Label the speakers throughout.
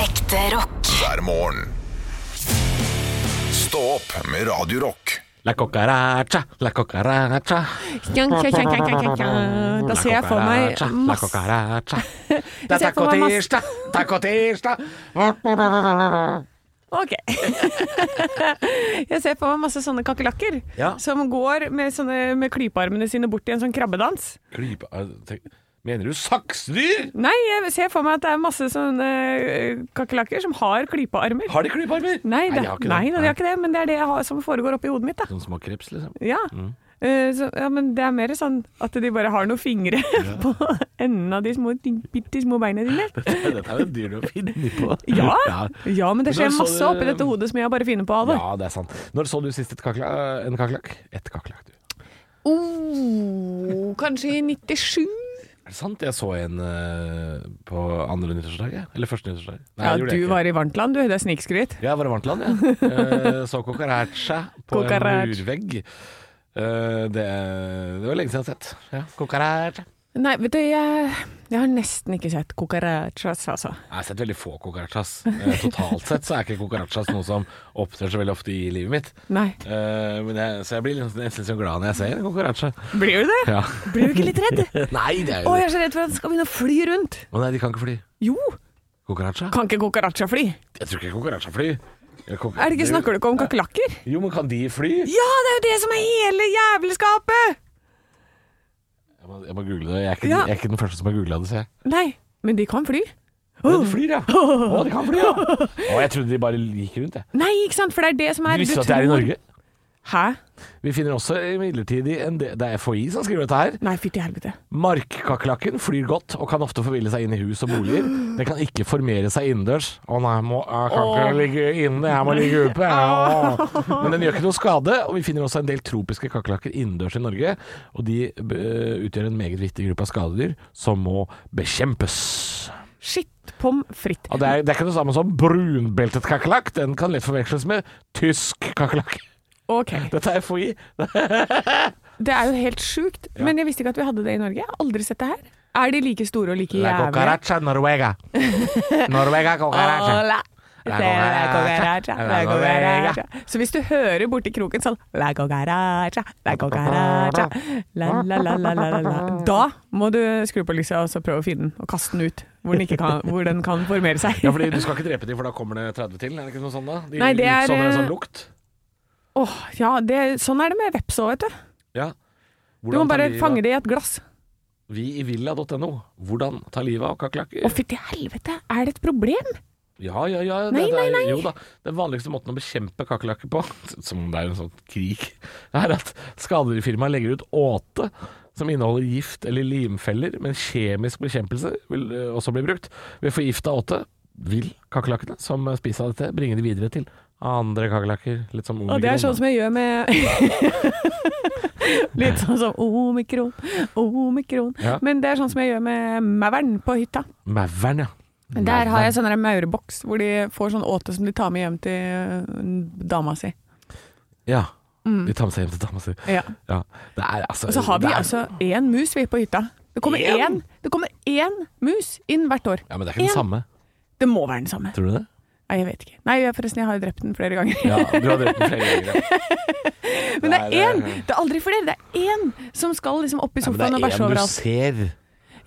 Speaker 1: Ekte rock.
Speaker 2: hver morgen. Stå opp med Radio Rock.
Speaker 3: La cucaracha, la cucaracha.
Speaker 4: Kjank, kjank, kjank, kjank, kjank, kjank. Da ser jeg for meg
Speaker 3: Cucaracha, Mm, La
Speaker 4: masse
Speaker 3: cucaracha. Det
Speaker 4: Da
Speaker 3: er
Speaker 4: ser jeg for meg masse-
Speaker 3: tacotirsdag, tacotirsdag.
Speaker 4: Ok. Jeg ser for meg masse sånne kakerlakker
Speaker 3: Ja.
Speaker 4: som går med, sånne, med klypearmene sine bort i en sånn krabbedans.
Speaker 3: Klype altså, tenk- Mener du saksdyr?
Speaker 4: Nei, jeg ser for meg at det er masse sånne øh, kakerlakker som har klypearmer.
Speaker 3: Har de klypearmer?
Speaker 4: Nei, det,
Speaker 3: de har ikke
Speaker 4: nei,
Speaker 3: det.
Speaker 4: da, de har ikke det, men det er det jeg har, som foregår oppi hodet mitt. Da.
Speaker 3: Sånne små kreps, liksom.
Speaker 4: Ja. Eh, så, ja, men det er mer sånn at de bare har noen fingre på enden av de små, bitte små beina dine.
Speaker 3: Dette er jo dyrt å finne på.
Speaker 4: Ja, ja men det
Speaker 3: Men
Speaker 4: skjer
Speaker 3: da så
Speaker 4: masse
Speaker 3: du-
Speaker 4: oppi dette hodet som jeg bare finner på av det.
Speaker 3: Ja, det er sant. Når så du sist et kakla, en kakerlakk? Et kakerlakk, du.
Speaker 4: Oh, kanskje i 97?
Speaker 3: Er det sant? Jeg så en eh, på andre nyttårsdag, jeg. Eller første nyttårsdag. Nei,
Speaker 4: Ja,
Speaker 3: det gjorde jeg
Speaker 4: du
Speaker 3: ikke.
Speaker 4: var i varmtland, du. Det er snikskryt.
Speaker 3: Jeg var i varmtland, jeg. Eh, så cucaracha på en
Speaker 4: Cucaracha.
Speaker 3: murvegg. Eh, det, det var lenge siden jeg har sett. Ja, cucaracha.
Speaker 4: Nei, vet du, jeg, jeg har nesten ikke sett cucarachas, altså.
Speaker 3: Jeg har sett veldig få cucarachas. Eh, totalt sett så er ikke cucarachas noe som opptrer så veldig ofte i livet mitt.
Speaker 4: Nei.
Speaker 3: Eh, men jeg, så jeg blir liksom- nesten så glad når jeg ser en cucaracha.
Speaker 4: Blir du det?
Speaker 3: Ja.
Speaker 4: Blir du ikke litt redd? Å,
Speaker 3: Nei, det er jo
Speaker 4: jeg er så redd for at den skal begynne å fly rundt.
Speaker 3: Å nei, de kan ikke fly.
Speaker 4: Jo,
Speaker 3: Cucaracha?
Speaker 4: kan ikke cucaracha fly?
Speaker 3: Jeg tror ikke cucaracha flyr.
Speaker 4: Er det ikke, snakker du ikke om kakerlakker?
Speaker 3: Jo, men kan de fly?
Speaker 4: Ja, det er jo det som er hele jævelskapet!
Speaker 3: Jeg må, jeg må google det. Jeg er, ikke,
Speaker 4: Ja.
Speaker 3: jeg er ikke den første som har googla det, ser jeg.
Speaker 4: Nei, men de kan fly.
Speaker 3: Å, de flyr, ja. Å, de kan fly, ja. Å, jeg trodde de bare gikk rundt, jeg.
Speaker 4: Nei, ikke sant, for det er det som er
Speaker 3: Du visste
Speaker 4: du
Speaker 3: at det er i
Speaker 4: tror-
Speaker 3: Norge?
Speaker 4: Hæ?
Speaker 3: Vi finner også imidlertid en del Det er FHI som skriver dette her.
Speaker 4: Nei, fytti helvete.
Speaker 3: Markkakelakken flyr godt og kan ofte forville seg inn i hus og boliger. Den kan ikke formere seg innendørs. Å nei, jeg, må, jeg kan ikke ligge inne, jeg må ligge ute. jeg, å. Men den gjør ikke noe skade, og vi finner også en del tropiske kakerlakker innendørs i Norge. Og de eh, utgjør en meget viktig gruppe av skadedyr som må bekjempes.
Speaker 4: Shit pommes frites.
Speaker 3: Og det er, det er ikke det samme som brunbeltet kakerlakk. Den kan lett forveksles med tysk kakerlakk.
Speaker 4: Ok,
Speaker 3: Dette er FHI.
Speaker 4: det er jo helt sjukt. Men jeg visste ikke at vi hadde det i Norge. Jeg har aldri sett det her. Er de like store og like
Speaker 3: La
Speaker 4: jævlige?
Speaker 3: cucaracha noruega. Noruega cucaracha.
Speaker 4: Hola.
Speaker 3: La
Speaker 4: Det er la
Speaker 3: cucaracha.
Speaker 4: cucaracha, la
Speaker 3: La
Speaker 4: cucaracha. Så hvis du hører borti kroken sånn La cucaracha, la cucaracha La la la la la la la Da må du skru på lyset og så prøve å finne den og kaste den ut hvor den, ikke kan, hvor den kan formere seg.
Speaker 3: Ja, fordi Du skal ikke drepe dem, for da kommer det 30 til? Er det ikke noe sånn da? De
Speaker 4: Nei, det er,
Speaker 3: utsonder en
Speaker 4: eh,
Speaker 3: sånn lukt.
Speaker 4: Åh, ja, det, sånn er det med veps òg, vet du.
Speaker 3: Ja.
Speaker 4: Du må bare fange det i et glass.
Speaker 3: Vi i villa.no. Hvordan ta livet av kakerlakker?
Speaker 4: Å, fytti helvete, er det et problem?
Speaker 3: Ja, ja, ja. det,
Speaker 4: Nei,
Speaker 3: det er,
Speaker 4: nei, nei.
Speaker 3: Jo da. Den vanligste måten å bekjempe kakerlakker på, som om det er en sånn krig, er at skadedyrfirmaet legger ut åte som inneholder gift eller limfeller, men kjemisk bekjempelse vil eh, også bli brukt. Ved forgifta åte vil kakerlakkene som spiser av dette, bringe det videre til andre kakerlakker. Litt som
Speaker 4: Og det er
Speaker 3: omikron,
Speaker 4: sånn som jeg gjør med Litt sånn som omikron, omikron.
Speaker 3: Ja.
Speaker 4: Men det er sånn som jeg gjør med maur'n på hytta.
Speaker 3: da. Mauren, sånn. ja.
Speaker 4: Der har
Speaker 3: Mauren.
Speaker 4: jeg sånn der maureboks hvor de får sånn åte som de tar med hjem til øh, dama si. sånn-
Speaker 3: Ja. De tar med seg hjem til dama si.
Speaker 4: Ja.
Speaker 3: Ja. Det er altså
Speaker 4: Mm. Og så har vi
Speaker 3: det er,
Speaker 4: altså én mus vi på hytta. Det kommer
Speaker 3: Én?
Speaker 4: én, det kommer én mus inn hvert år.
Speaker 3: Ja, men det er ikke
Speaker 4: Én.
Speaker 3: den samme.
Speaker 4: Det må være den samme.
Speaker 3: Tror du det?
Speaker 4: Nei, jeg vet ikke. Nei, jeg- forresten, jeg har jo drept den flere ganger.
Speaker 3: Ja, du har drept den flere ganger. ja.
Speaker 4: Men det
Speaker 3: Nei,
Speaker 4: er
Speaker 3: det er-
Speaker 4: én! Det er aldri flere. Det er én som skal liksom opp i
Speaker 3: Ja, men det
Speaker 4: sofaen og
Speaker 3: er
Speaker 4: bæsje
Speaker 3: én du
Speaker 4: overalt.
Speaker 3: ser.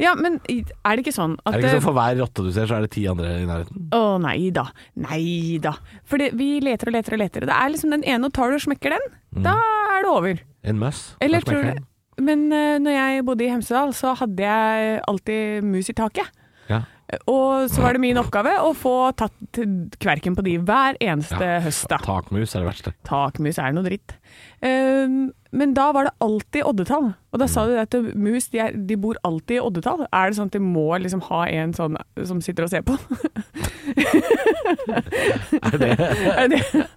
Speaker 4: Ja, men i- er det ikke sånn at
Speaker 3: Er det ikke sånn
Speaker 4: eh,
Speaker 3: for hver rotte du ser, så er det ti andre i nærheten?
Speaker 4: Å nei da, nei da. For det- vi leter og leter og leter. og Det er liksom den ene, og tar du og smekker den, da er det over.
Speaker 3: Mm. En møss?
Speaker 4: Eller
Speaker 3: Hva smaker
Speaker 4: tror
Speaker 3: den?
Speaker 4: du Men eh, når jeg bodde i Hemsedal, så hadde jeg alltid mus i taket.
Speaker 3: Ja.
Speaker 4: Og så var det min oppgave å få tatt kverken på de hver eneste
Speaker 3: Ja.
Speaker 4: høst, da.
Speaker 3: Takmus er det verste.
Speaker 4: Takmus er noe dritt. Ehm, men da var det alltid oddetall. Og da
Speaker 3: Mm.
Speaker 4: sa de at mus de, er, de bor alltid i oddetall. Er det sånn at de må liksom ha en sånn som sitter og ser på? er det er det, er det, det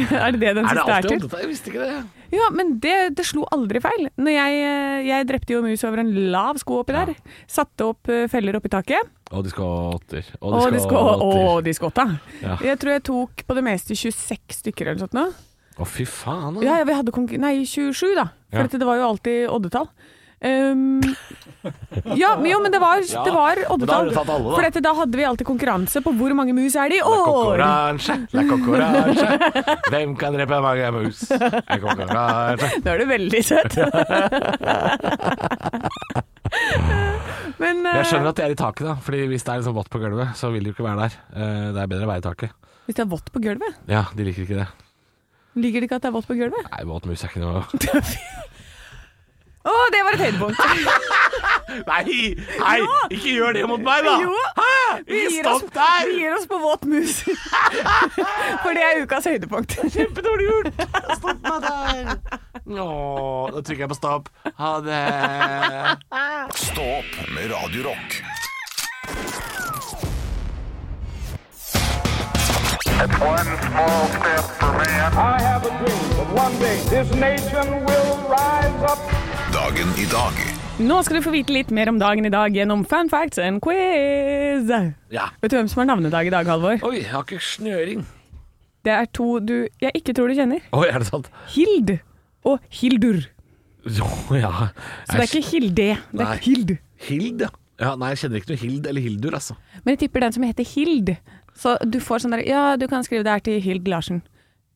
Speaker 4: den
Speaker 3: Er det
Speaker 4: siste er
Speaker 3: alltid
Speaker 4: til?
Speaker 3: oddetall? Jeg visste ikke det.
Speaker 4: Ja, men det, det slo aldri feil. Når jeg, eh, jeg drepte jo mus over en lav sko oppi der. Satte opp eh, feller oppi taket.
Speaker 3: Og de skal ha åtter. Og
Speaker 4: Og de
Speaker 3: ha
Speaker 4: skå-
Speaker 3: åtter.
Speaker 4: å, de skotta.
Speaker 3: Ja.
Speaker 4: Jeg tror jeg tok på det meste 26 stykker eller noe sånt. nå.
Speaker 3: Å, fy faen.
Speaker 4: Ja,
Speaker 3: altså.
Speaker 4: ja, vi hadde konkur... Nei, 27 da. For
Speaker 3: Ja.
Speaker 4: dette, det var jo alltid oddetall. Eh, Um, ja, men jo, men det var, det var
Speaker 3: Men da har
Speaker 4: oddetall.
Speaker 3: du tatt alle, da.
Speaker 4: For dette, da hadde vi alltid konkurranse på hvor mange mus er det i år.
Speaker 3: Konkurranse, det er konkurranse. Hvem kan drepe mange mus? Det er konkurranse.
Speaker 4: Nå er du veldig søt. men eh,
Speaker 3: Jeg skjønner at det er i taket, da. Fordi hvis det er liksom vått på gulvet, så vil det jo ikke være der. Eh, Det er bedre å være i taket.
Speaker 4: hvis det er vått på gulvet,
Speaker 3: Ja, de liker ikke det.
Speaker 4: liker det ikke at det er vått på gulvet?
Speaker 3: Nei, våt mus er ikke noe
Speaker 4: Å, det var et høydepunkt.
Speaker 3: Nei! nei Ikke gjør det mot meg, da!
Speaker 4: Jo, vi
Speaker 3: Ikke
Speaker 4: gir, oss,
Speaker 3: stopp der!
Speaker 4: vi gir oss på våt mus. For det er ukas høydepunkt.
Speaker 3: Kjempedårlig gjort! Stopp meg der! Nå, da trykker jeg på stopp. Ha det.
Speaker 2: Stå opp med Radio Rock.
Speaker 5: One small step for man.
Speaker 6: I have a dream that one day this nation will rise up.
Speaker 2: Dagen i dag
Speaker 4: Nå skal du få vite litt mer om dagen i dag gjennom Fun facts and quiz.
Speaker 3: Ja.
Speaker 4: Vet du hvem som har navnedag i dag, Halvor?
Speaker 3: Oi, jeg har ikke snøring.
Speaker 4: Det er to du jeg ikke tror du kjenner.
Speaker 3: Oi, er det sant?
Speaker 4: Hild og Hildur.
Speaker 3: Jo, ja.
Speaker 4: Så det er ikke Hilde, det
Speaker 3: Nei.
Speaker 4: er Hild.
Speaker 3: Hild, ja. ja. Nei, jeg kjenner ikke noe Hild eller Hildur, altså.
Speaker 4: Men jeg tipper den som heter Hild. Så du får sånn der Ja, du kan skrive det her til Hild Larsen.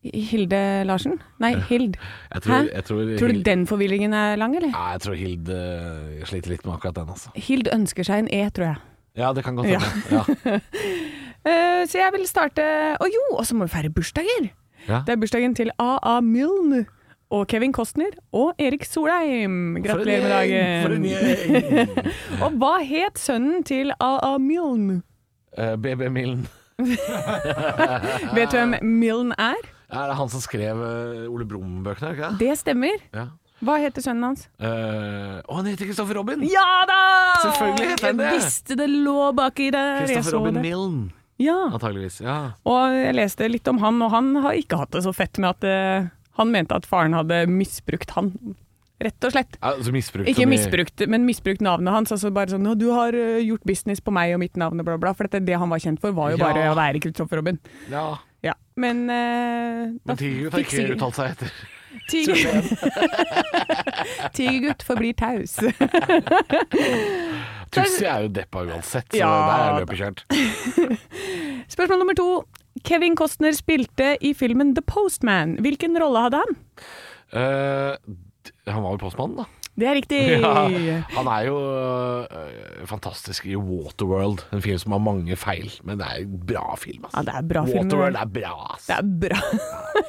Speaker 4: Hilde Larsen? Nei, Hild.
Speaker 3: Jeg tror,
Speaker 4: Hæ?
Speaker 3: jeg tror,
Speaker 4: Tror du
Speaker 3: Hild,
Speaker 4: den forvirringen er lang, eller?
Speaker 3: Nei, jeg tror Hild eh, sliter litt med akkurat den, altså.
Speaker 4: Hild ønsker seg en E, tror jeg.
Speaker 3: Ja, det kan godt
Speaker 4: Ja.
Speaker 3: hende. Ja.
Speaker 4: Eh, så jeg vil starte Å jo, og så må vi feire bursdager!
Speaker 3: Ja.
Speaker 4: Det er bursdagen til A.A. Milne og Kevin Costner og Erik Solheim. Gratulerer med dagen.
Speaker 3: For en gjeng!
Speaker 4: Og hva het sønnen til A.A. Milne?
Speaker 3: Eh, BB Millen.
Speaker 4: Vet du hvem Milne er?
Speaker 3: Ja, det er han som skrev eh, Ole Brumm-bøkene, er det ikke det?
Speaker 4: Det stemmer.
Speaker 3: Ja.
Speaker 4: Hva heter sønnen hans?
Speaker 3: Eh, å, han heter Kristoffer Robin!
Speaker 4: Ja da!
Speaker 3: Selvfølgelig heter han det.
Speaker 4: Jeg visste det lå baki der. Jeg
Speaker 3: Kristoffer
Speaker 4: så
Speaker 3: Robin
Speaker 4: det.
Speaker 3: Millen,
Speaker 4: Ja.
Speaker 3: antageligvis. Ja.
Speaker 4: Og jeg leste litt om han, og han har ikke hatt det så fett med at eh, han mente at faren hadde misbrukt han. Rett og slett.
Speaker 3: Altså misbrukt
Speaker 4: Ikke
Speaker 3: som i-
Speaker 4: misbrukt, men misbrukt navnet hans. Altså bare sånn 'Å, du har ø, gjort business på meg og mitt navn', og bla, bla. For dette, det han var kjent for, var jo
Speaker 3: Ja.
Speaker 4: bare å være Kristoffer Robin.
Speaker 3: Ja,
Speaker 4: Ja. Men eh, da
Speaker 3: men Tigergutt har
Speaker 4: fikk
Speaker 3: ikke
Speaker 4: Sigurd-
Speaker 3: uttalt seg etter.
Speaker 4: Tigergutt Tigergutt forblir taus.
Speaker 3: Tussi er jo deppa uansett, så
Speaker 4: Ja,
Speaker 3: der er løpet kjørt.
Speaker 4: Spørsmål nummer to. Kevin Costner spilte i filmen The Postman. Hvilken rolle hadde han?
Speaker 3: Eh, d- han var jo postmannen, da.
Speaker 4: Det er riktig!
Speaker 3: Ja, han er jo øh, fantastisk i Waterworld, en film som har mange feil, men det er en bra film. ass.
Speaker 4: Ja, det er bra film,
Speaker 3: Waterworld
Speaker 4: det.
Speaker 3: er bra. altså. Ass.
Speaker 4: Det er bra.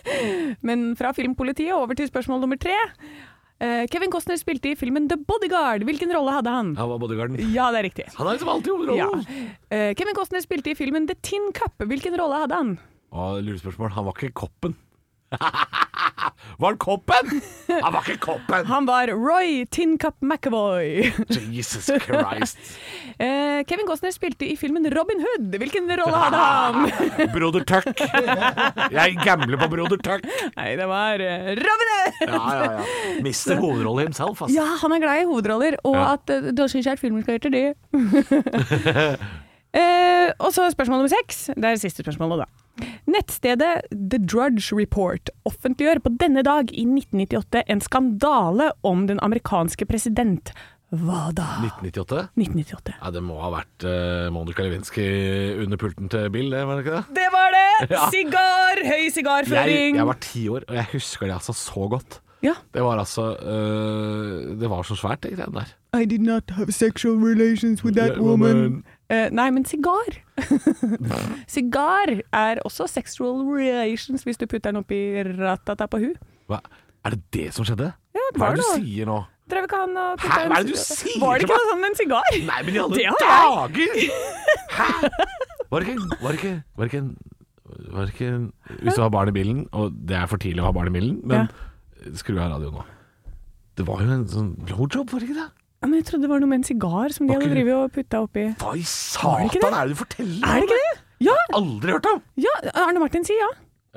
Speaker 4: Men fra filmpolitiet over til spørsmål nummer tre. Eh, Kevin Costner spilte i filmen The Bodyguard. Hvilken rolle hadde han?
Speaker 3: Han var bodyguarden.
Speaker 4: Ja, det er riktig.
Speaker 3: Han er liksom alltid
Speaker 4: Ja.
Speaker 3: hovedrollen.
Speaker 4: Eh, Kevin Costner spilte i filmen The Tin Cup. Hvilken rolle hadde han?
Speaker 3: Og Lurespørsmål, han var ikke koppen. var han koppen?! Han var ikke koppen!
Speaker 4: Han var Roy Tin Cup McAvoy.
Speaker 3: Jesus Christ.
Speaker 4: Eh, Kevin Costner spilte i filmen Robin Hood. Hvilken rolle hadde han?
Speaker 3: Broder Tuck. Jeg gambler på Broder Tuck.
Speaker 4: Nei, det var eh, Robin Hood!
Speaker 3: Ja, ja, ja. Mister hovedrolle himself, altså. ass.
Speaker 4: Ja, han er glad i hovedroller, og
Speaker 3: Ja.
Speaker 4: at eh, da syns jeg at filmen skal gjøre det. Eh, og så spørsmål nummer seks. Det er siste spørsmålet, da. Nettstedet The Drudge Report offentliggjør på denne dag i 1998 en skandale om den amerikanske president. Hva da?
Speaker 3: 1998?
Speaker 4: 1998.
Speaker 3: Ja, det må ha vært eh, Monica Lewinsky under pulten til Bill, det, var det ikke det?
Speaker 4: Det var det!
Speaker 3: Ja.
Speaker 4: Sigar! Høy
Speaker 3: Jeg,
Speaker 4: sigarføring.
Speaker 3: jeg var ti år, og jeg husker det altså så godt.
Speaker 4: Ja.
Speaker 3: Det var altså øh, Det var så svært, det greiene der.
Speaker 4: I did not have sexual relations with
Speaker 3: that woman.
Speaker 4: Eh, nei, men sigar. sigar er også sexual relations hvis du putter den oppi ratata på hu.
Speaker 3: Hva? Er det det som skjedde?
Speaker 4: det
Speaker 3: Hva
Speaker 4: var
Speaker 3: er det
Speaker 4: det
Speaker 3: du
Speaker 4: da.
Speaker 3: sier nå?
Speaker 4: Drev ikke han og putta
Speaker 3: Hæ?
Speaker 4: eh, en
Speaker 3: Hva er det du
Speaker 4: sigar-
Speaker 3: sier
Speaker 4: Var det
Speaker 3: til
Speaker 4: ikke noe sånn en sigar?
Speaker 3: Nei, men i alle
Speaker 4: Det har
Speaker 3: dager! Hæ? Var det ikke Var det ikke, var det ikke en var det ikke, en- hvis du har barn i bilen, og det er for tidlig å ha barn i bilen, men skru av radioen nå. Det var jo en sånn blowjob, var det ikke det?
Speaker 4: Ja, Men jeg trodde det var noe med en sigar som de
Speaker 3: Var
Speaker 4: hadde
Speaker 3: ikke-
Speaker 4: drevet og putta oppi.
Speaker 3: Hva i
Speaker 4: det ikke
Speaker 3: satan
Speaker 4: det?
Speaker 3: er det du forteller?
Speaker 4: Er det ikke det? Ja,
Speaker 3: Aldri hørt om!
Speaker 4: ja Arne Martin sier ja.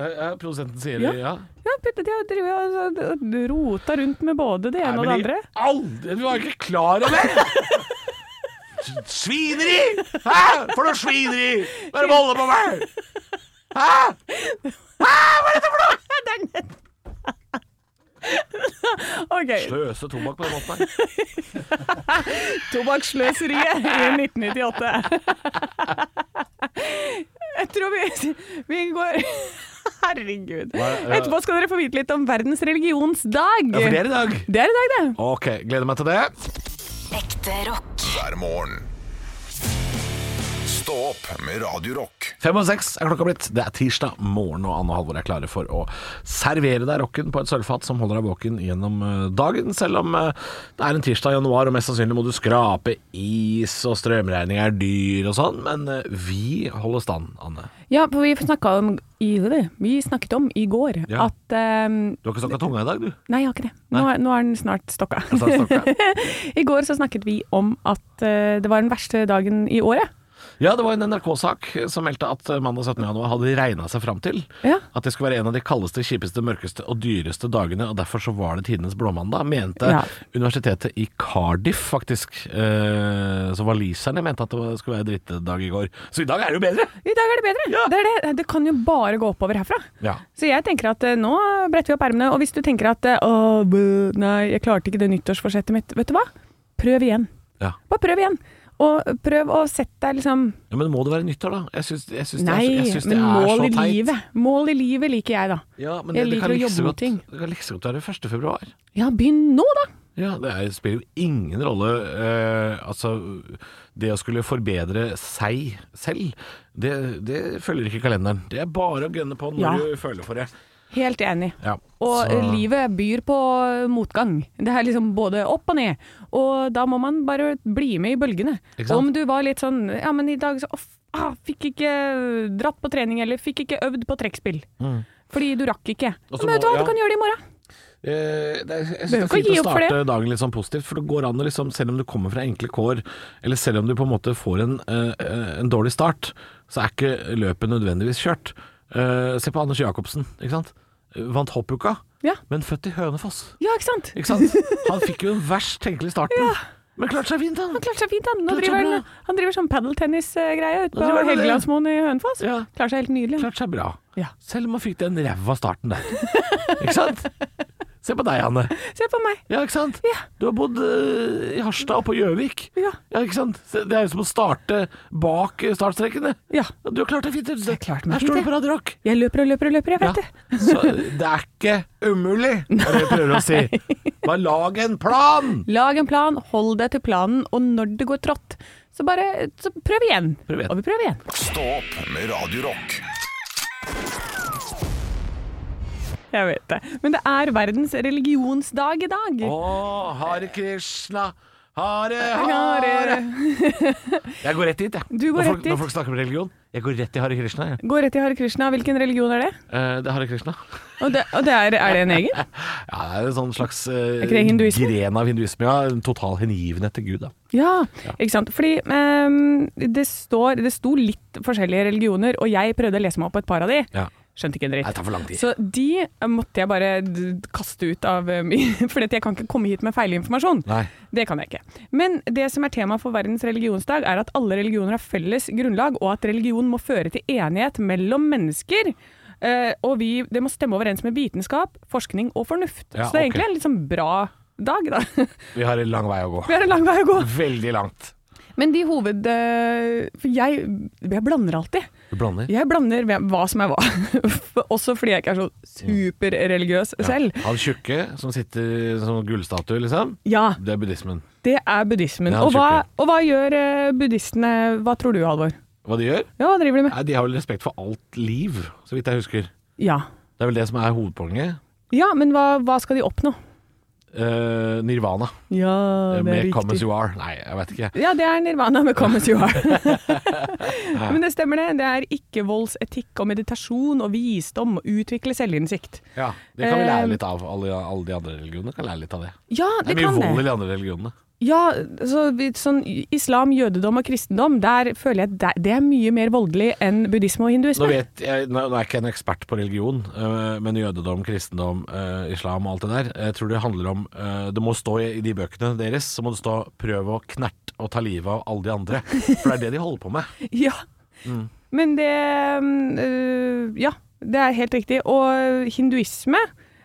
Speaker 3: Ja, ja, Produsenten sier
Speaker 4: Ja.
Speaker 3: det, ja.
Speaker 4: Ja, putta, De har drevet og- og rota rundt med både det
Speaker 3: Nei,
Speaker 4: ene og det
Speaker 3: men i
Speaker 4: andre.
Speaker 3: Aldri, du var ikke klar over det! S- Svineri! Hæ? For noe svineri! Bare bolle på meg! Hæ?
Speaker 4: Ok,
Speaker 3: Sløse tobakk på den måten her.
Speaker 4: Tobakkssløseriet i 1998. Jeg tror vi, vi går Herregud.
Speaker 3: Hva- ja.
Speaker 4: Etterpå skal dere få vite litt om verdens religionsdag.
Speaker 3: Ja, for det er i dag.
Speaker 4: Det er i dag, det.
Speaker 3: Ok, gleder meg til det.
Speaker 1: Ekte rock.
Speaker 2: hver morgen. Stå opp med Radio Rock.
Speaker 3: Fem og seks er klokka blitt. Det er tirsdag morgen, og Anne og Halvor er klare for å servere deg rocken på et sølvfat som holder deg våken gjennom eh, dagen, selv om eh, det er en tirsdag i januar, og mest sannsynlig må du skrape is, og strømregning er dyr og sånn, men eh, vi holder stand, Anne.
Speaker 4: Ja, for vi snakka om i, vi snakket om i går
Speaker 3: Ja.
Speaker 4: at eh,
Speaker 3: Du har ikke snakka tunga i dag, du.
Speaker 4: Nei, jeg har ikke det. Nå, er- nå er den snart stokka.
Speaker 3: Altså, snakka-
Speaker 4: I går så snakket vi om at eh, det var den verste dagen i året.
Speaker 3: Ja, det var en NRK-sak som meldte at eh, mandag 17. januar hadde de regna seg fram til
Speaker 4: Ja.
Speaker 3: at det skulle være en av de kaldeste, kjipeste, mørkeste og dyreste dagene, og derfor så var det tidenes blåmandag, mente
Speaker 4: Ja.
Speaker 3: universitetet i Cardiff, faktisk. Eh, så waliserne mente at det skulle være drittdag i går. Så i dag er det jo bedre!
Speaker 4: I dag er det bedre. Det, er det. det kan jo bare gå oppover herfra.
Speaker 3: Ja.
Speaker 4: Så jeg tenker at eh, nå bretter vi opp ermene. Og hvis du tenker at eh, «Åh, bø, nei, jeg klarte ikke det nyttårsforsettet mitt, vet du hva? Prøv igjen.
Speaker 3: Ja.
Speaker 4: Bare prøv igjen. Og prøv å sette deg liksom
Speaker 3: ja, Men må det være nyttår, da? Jeg syns, jeg syns
Speaker 4: Nei,
Speaker 3: det, er- jeg syns det
Speaker 4: men
Speaker 3: er så
Speaker 4: mål i
Speaker 3: teit.
Speaker 4: livet. Mål i livet liker jeg, da.
Speaker 3: Ja, men
Speaker 4: Jeg
Speaker 3: det- det
Speaker 4: liker
Speaker 3: kan
Speaker 4: å
Speaker 3: like
Speaker 4: jobbe
Speaker 3: så
Speaker 4: med
Speaker 3: godt-
Speaker 4: ting.
Speaker 3: Det kan like så godt være 1. februar.
Speaker 4: Ja, begynn nå, da!
Speaker 3: Ja, det er, spiller jo ingen rolle eh, Altså, det å skulle forbedre seg selv, det, det følger ikke kalenderen. Det er bare å gønne på når
Speaker 4: Ja.
Speaker 3: du føler for det.
Speaker 4: Helt enig.
Speaker 3: Ja,
Speaker 4: Og
Speaker 3: så-
Speaker 4: livet byr på motgang. Det er liksom både opp og ned. Og da må man bare bli med i bølgene.
Speaker 3: Ikke sant?
Speaker 4: Om du var litt sånn Ja, men i dag så off, ah, Fikk ikke dratt på trening, eller fikk ikke øvd på trekkspill. Fordi du rakk ikke.
Speaker 3: Mm. Og
Speaker 4: Men
Speaker 3: så
Speaker 4: vet du
Speaker 3: må-
Speaker 4: hva,
Speaker 3: ja.
Speaker 4: du kan gjøre det i morgen.
Speaker 3: Eh, det er, jeg synes det
Speaker 4: Behøver
Speaker 3: er
Speaker 4: ikke å
Speaker 3: fint å
Speaker 4: gi opp for
Speaker 3: starte dagen litt sånn positivt, for det går an å liksom Selv om du kommer fra enkle kår, eller selv om du på en måte får en, eh, eh, en dårlig start, så er ikke løpet nødvendigvis kjørt. Eh, se på Anders Jacobsen, ikke sant. Vant hoppuka,
Speaker 4: Ja.
Speaker 3: men født i Hønefoss.
Speaker 4: Ja, ikke sant?
Speaker 3: Ikke sant? Han fikk jo den verst tenkelige starten. Men klarte seg fint, han.
Speaker 4: Han klarte seg fint, han. Nå
Speaker 3: Klarte seg
Speaker 4: driver
Speaker 3: bra.
Speaker 4: han, han driver sånn padeltennis-greie ute på
Speaker 3: driver han med det.
Speaker 4: Helgelandsmoen i Hønefoss.
Speaker 3: Ja.
Speaker 4: Klarer seg helt nydelig.
Speaker 3: Klarte seg bra.
Speaker 4: Ja.
Speaker 3: Selv om han fikk den ræva starten der. Ikke sant? Se på deg, Anne.
Speaker 4: Se på meg.
Speaker 3: Ja, ikke sant?
Speaker 4: Ja.
Speaker 3: Du har bodd eh, i Harstad og på Gjøvik.
Speaker 4: Ja.
Speaker 3: ikke sant? Se, Det er jo som å starte bak eh, startstrekene.
Speaker 4: Ja.
Speaker 3: Du har klart deg fint. du.
Speaker 4: Jeg klarte meg
Speaker 3: Her står du
Speaker 4: fint,
Speaker 3: på Radio Rock.
Speaker 4: Jeg løper og løper og løper, jeg
Speaker 3: Ja.
Speaker 4: vet det.
Speaker 3: Så det er ikke umulig, er det jeg prøver å si. Bare lag en plan!
Speaker 4: Lag en plan, hold deg til planen, og når det går trått, så bare så prøv igjen.
Speaker 3: Prøv igjen.
Speaker 4: Og vi prøver igjen.
Speaker 2: Stå opp med Radio Rock.
Speaker 4: Jeg vet det. Men det er verdens religionsdag i dag.
Speaker 3: Å, Hare Krishna, Hare
Speaker 4: Har eh,
Speaker 3: Hare.
Speaker 4: dere-
Speaker 3: Jeg går rett dit, jeg.
Speaker 4: Du går
Speaker 3: når,
Speaker 4: rett
Speaker 3: folk,
Speaker 4: dit.
Speaker 3: når folk snakker om religion. Jeg går rett til Hare Krishna. Jeg.
Speaker 4: Gå rett i Hare Krishna. Hvilken religion er det?
Speaker 3: Eh, det er Hare Krishna.
Speaker 4: Og det, og det er, er det en egen?
Speaker 3: Ja, det er en sånn slags eh,
Speaker 4: Er ikke det hinduisme?
Speaker 3: gren av hinduisme. Ja, en total hengivenhet til Gud. Da.
Speaker 4: Ja, ikke sant. Fordi ehm, det, står, det sto litt forskjellige religioner, og jeg prøvde å lese meg opp på et par av de.
Speaker 3: Ja.
Speaker 4: Skjønte ikke en dritt.
Speaker 3: Det tar for lang tid.
Speaker 4: Så de eh, måtte jeg bare d- kaste ut av eh, min- Fordi at jeg kan ikke komme hit med feilinformasjon.
Speaker 3: Nei.
Speaker 4: Det kan jeg ikke. Men det som er tema for verdens religionsdag, er at alle religioner har felles grunnlag, og at religion må føre til enighet mellom mennesker. eh, og vi, det må stemme overens med vitenskap, forskning og fornuft.
Speaker 3: Ja,
Speaker 4: Så det er
Speaker 3: ok.
Speaker 4: egentlig en litt sånn bra dag, da.
Speaker 3: Vi har en lang vei å gå.
Speaker 4: Vi har en lang vei å gå.
Speaker 3: Veldig langt.
Speaker 4: Men de hoved... eh, For jeg, jeg blander alltid.
Speaker 3: Du blander.
Speaker 4: Jeg blander hvem- hva som er hva. For- Også fordi jeg ikke er så superreligiøs selv.
Speaker 3: Han tjukke som sitter som gullstatue, liksom.
Speaker 4: Ja,
Speaker 3: Det er buddhismen.
Speaker 4: det er buddhismen.
Speaker 3: Ja,
Speaker 4: og, hva,
Speaker 3: skikkelig.
Speaker 4: og hva gjør eh, buddhistene? Hva tror du, Halvor?
Speaker 3: Hva de gjør?
Speaker 4: Ja, hva driver de med?
Speaker 3: Nei, de har vel respekt for alt liv, så vidt jeg husker.
Speaker 4: Ja,
Speaker 3: Det er vel det som er hovedpoenget.
Speaker 4: ja men hva, hva skal de oppnå?
Speaker 3: Eh, nirvana.
Speaker 4: Ja, det er
Speaker 3: Eh, Med come as
Speaker 4: riktig.
Speaker 3: you are. Nei, jeg vet ikke.
Speaker 4: Ja, det er nirvana med come as you are. men det stemmer det. Det er ikke-voldsetikk og meditasjon og visdom og utvikle selvinnsikt.
Speaker 3: Ja, Det kan vi
Speaker 4: Eh,
Speaker 3: lære litt av. Alle, alle de andre religionene kan lære litt av det.
Speaker 4: Ja,
Speaker 3: Det
Speaker 4: det
Speaker 3: er mye
Speaker 4: kan det.
Speaker 3: vold i de andre religionene.
Speaker 4: Ja, så vi- sånn islam, jødedom og kristendom, der føler jeg det- det er mye mer voldelig enn buddhisme og
Speaker 3: Nå,
Speaker 4: hinduisme.
Speaker 3: vet jeg, nå nå er jeg ikke en ekspert på religion, øh, men jødedom, kristendom, øh, islam og alt det der. Jeg tror det handler om øh, Det må stå i i de bøkene deres så må det stå 'prøv å knerte og ta livet av alle de andre'. For det er det de holder på med.
Speaker 4: Ja.
Speaker 3: Mm.
Speaker 4: Men det mm, øh, Ja, det er helt riktig. Og hinduisme,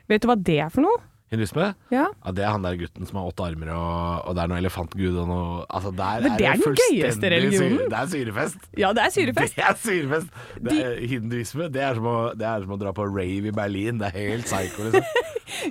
Speaker 4: vet du hva det er for noe?
Speaker 3: Hinduisme?
Speaker 4: Ja.
Speaker 3: Ja, det er han der gutten som har åtte armer, og, og det er noe elefantgud og noe altså, der
Speaker 4: Men det er den
Speaker 3: fullstendig
Speaker 4: gøyeste
Speaker 3: syre-
Speaker 4: religionen.
Speaker 3: Det er syrefest.
Speaker 4: Ja, det er syrefest.
Speaker 3: Det er syrefest. Det er hinduisme. Det er, som å, det er som å dra på rave i Berlin. Det er helt psycho, liksom.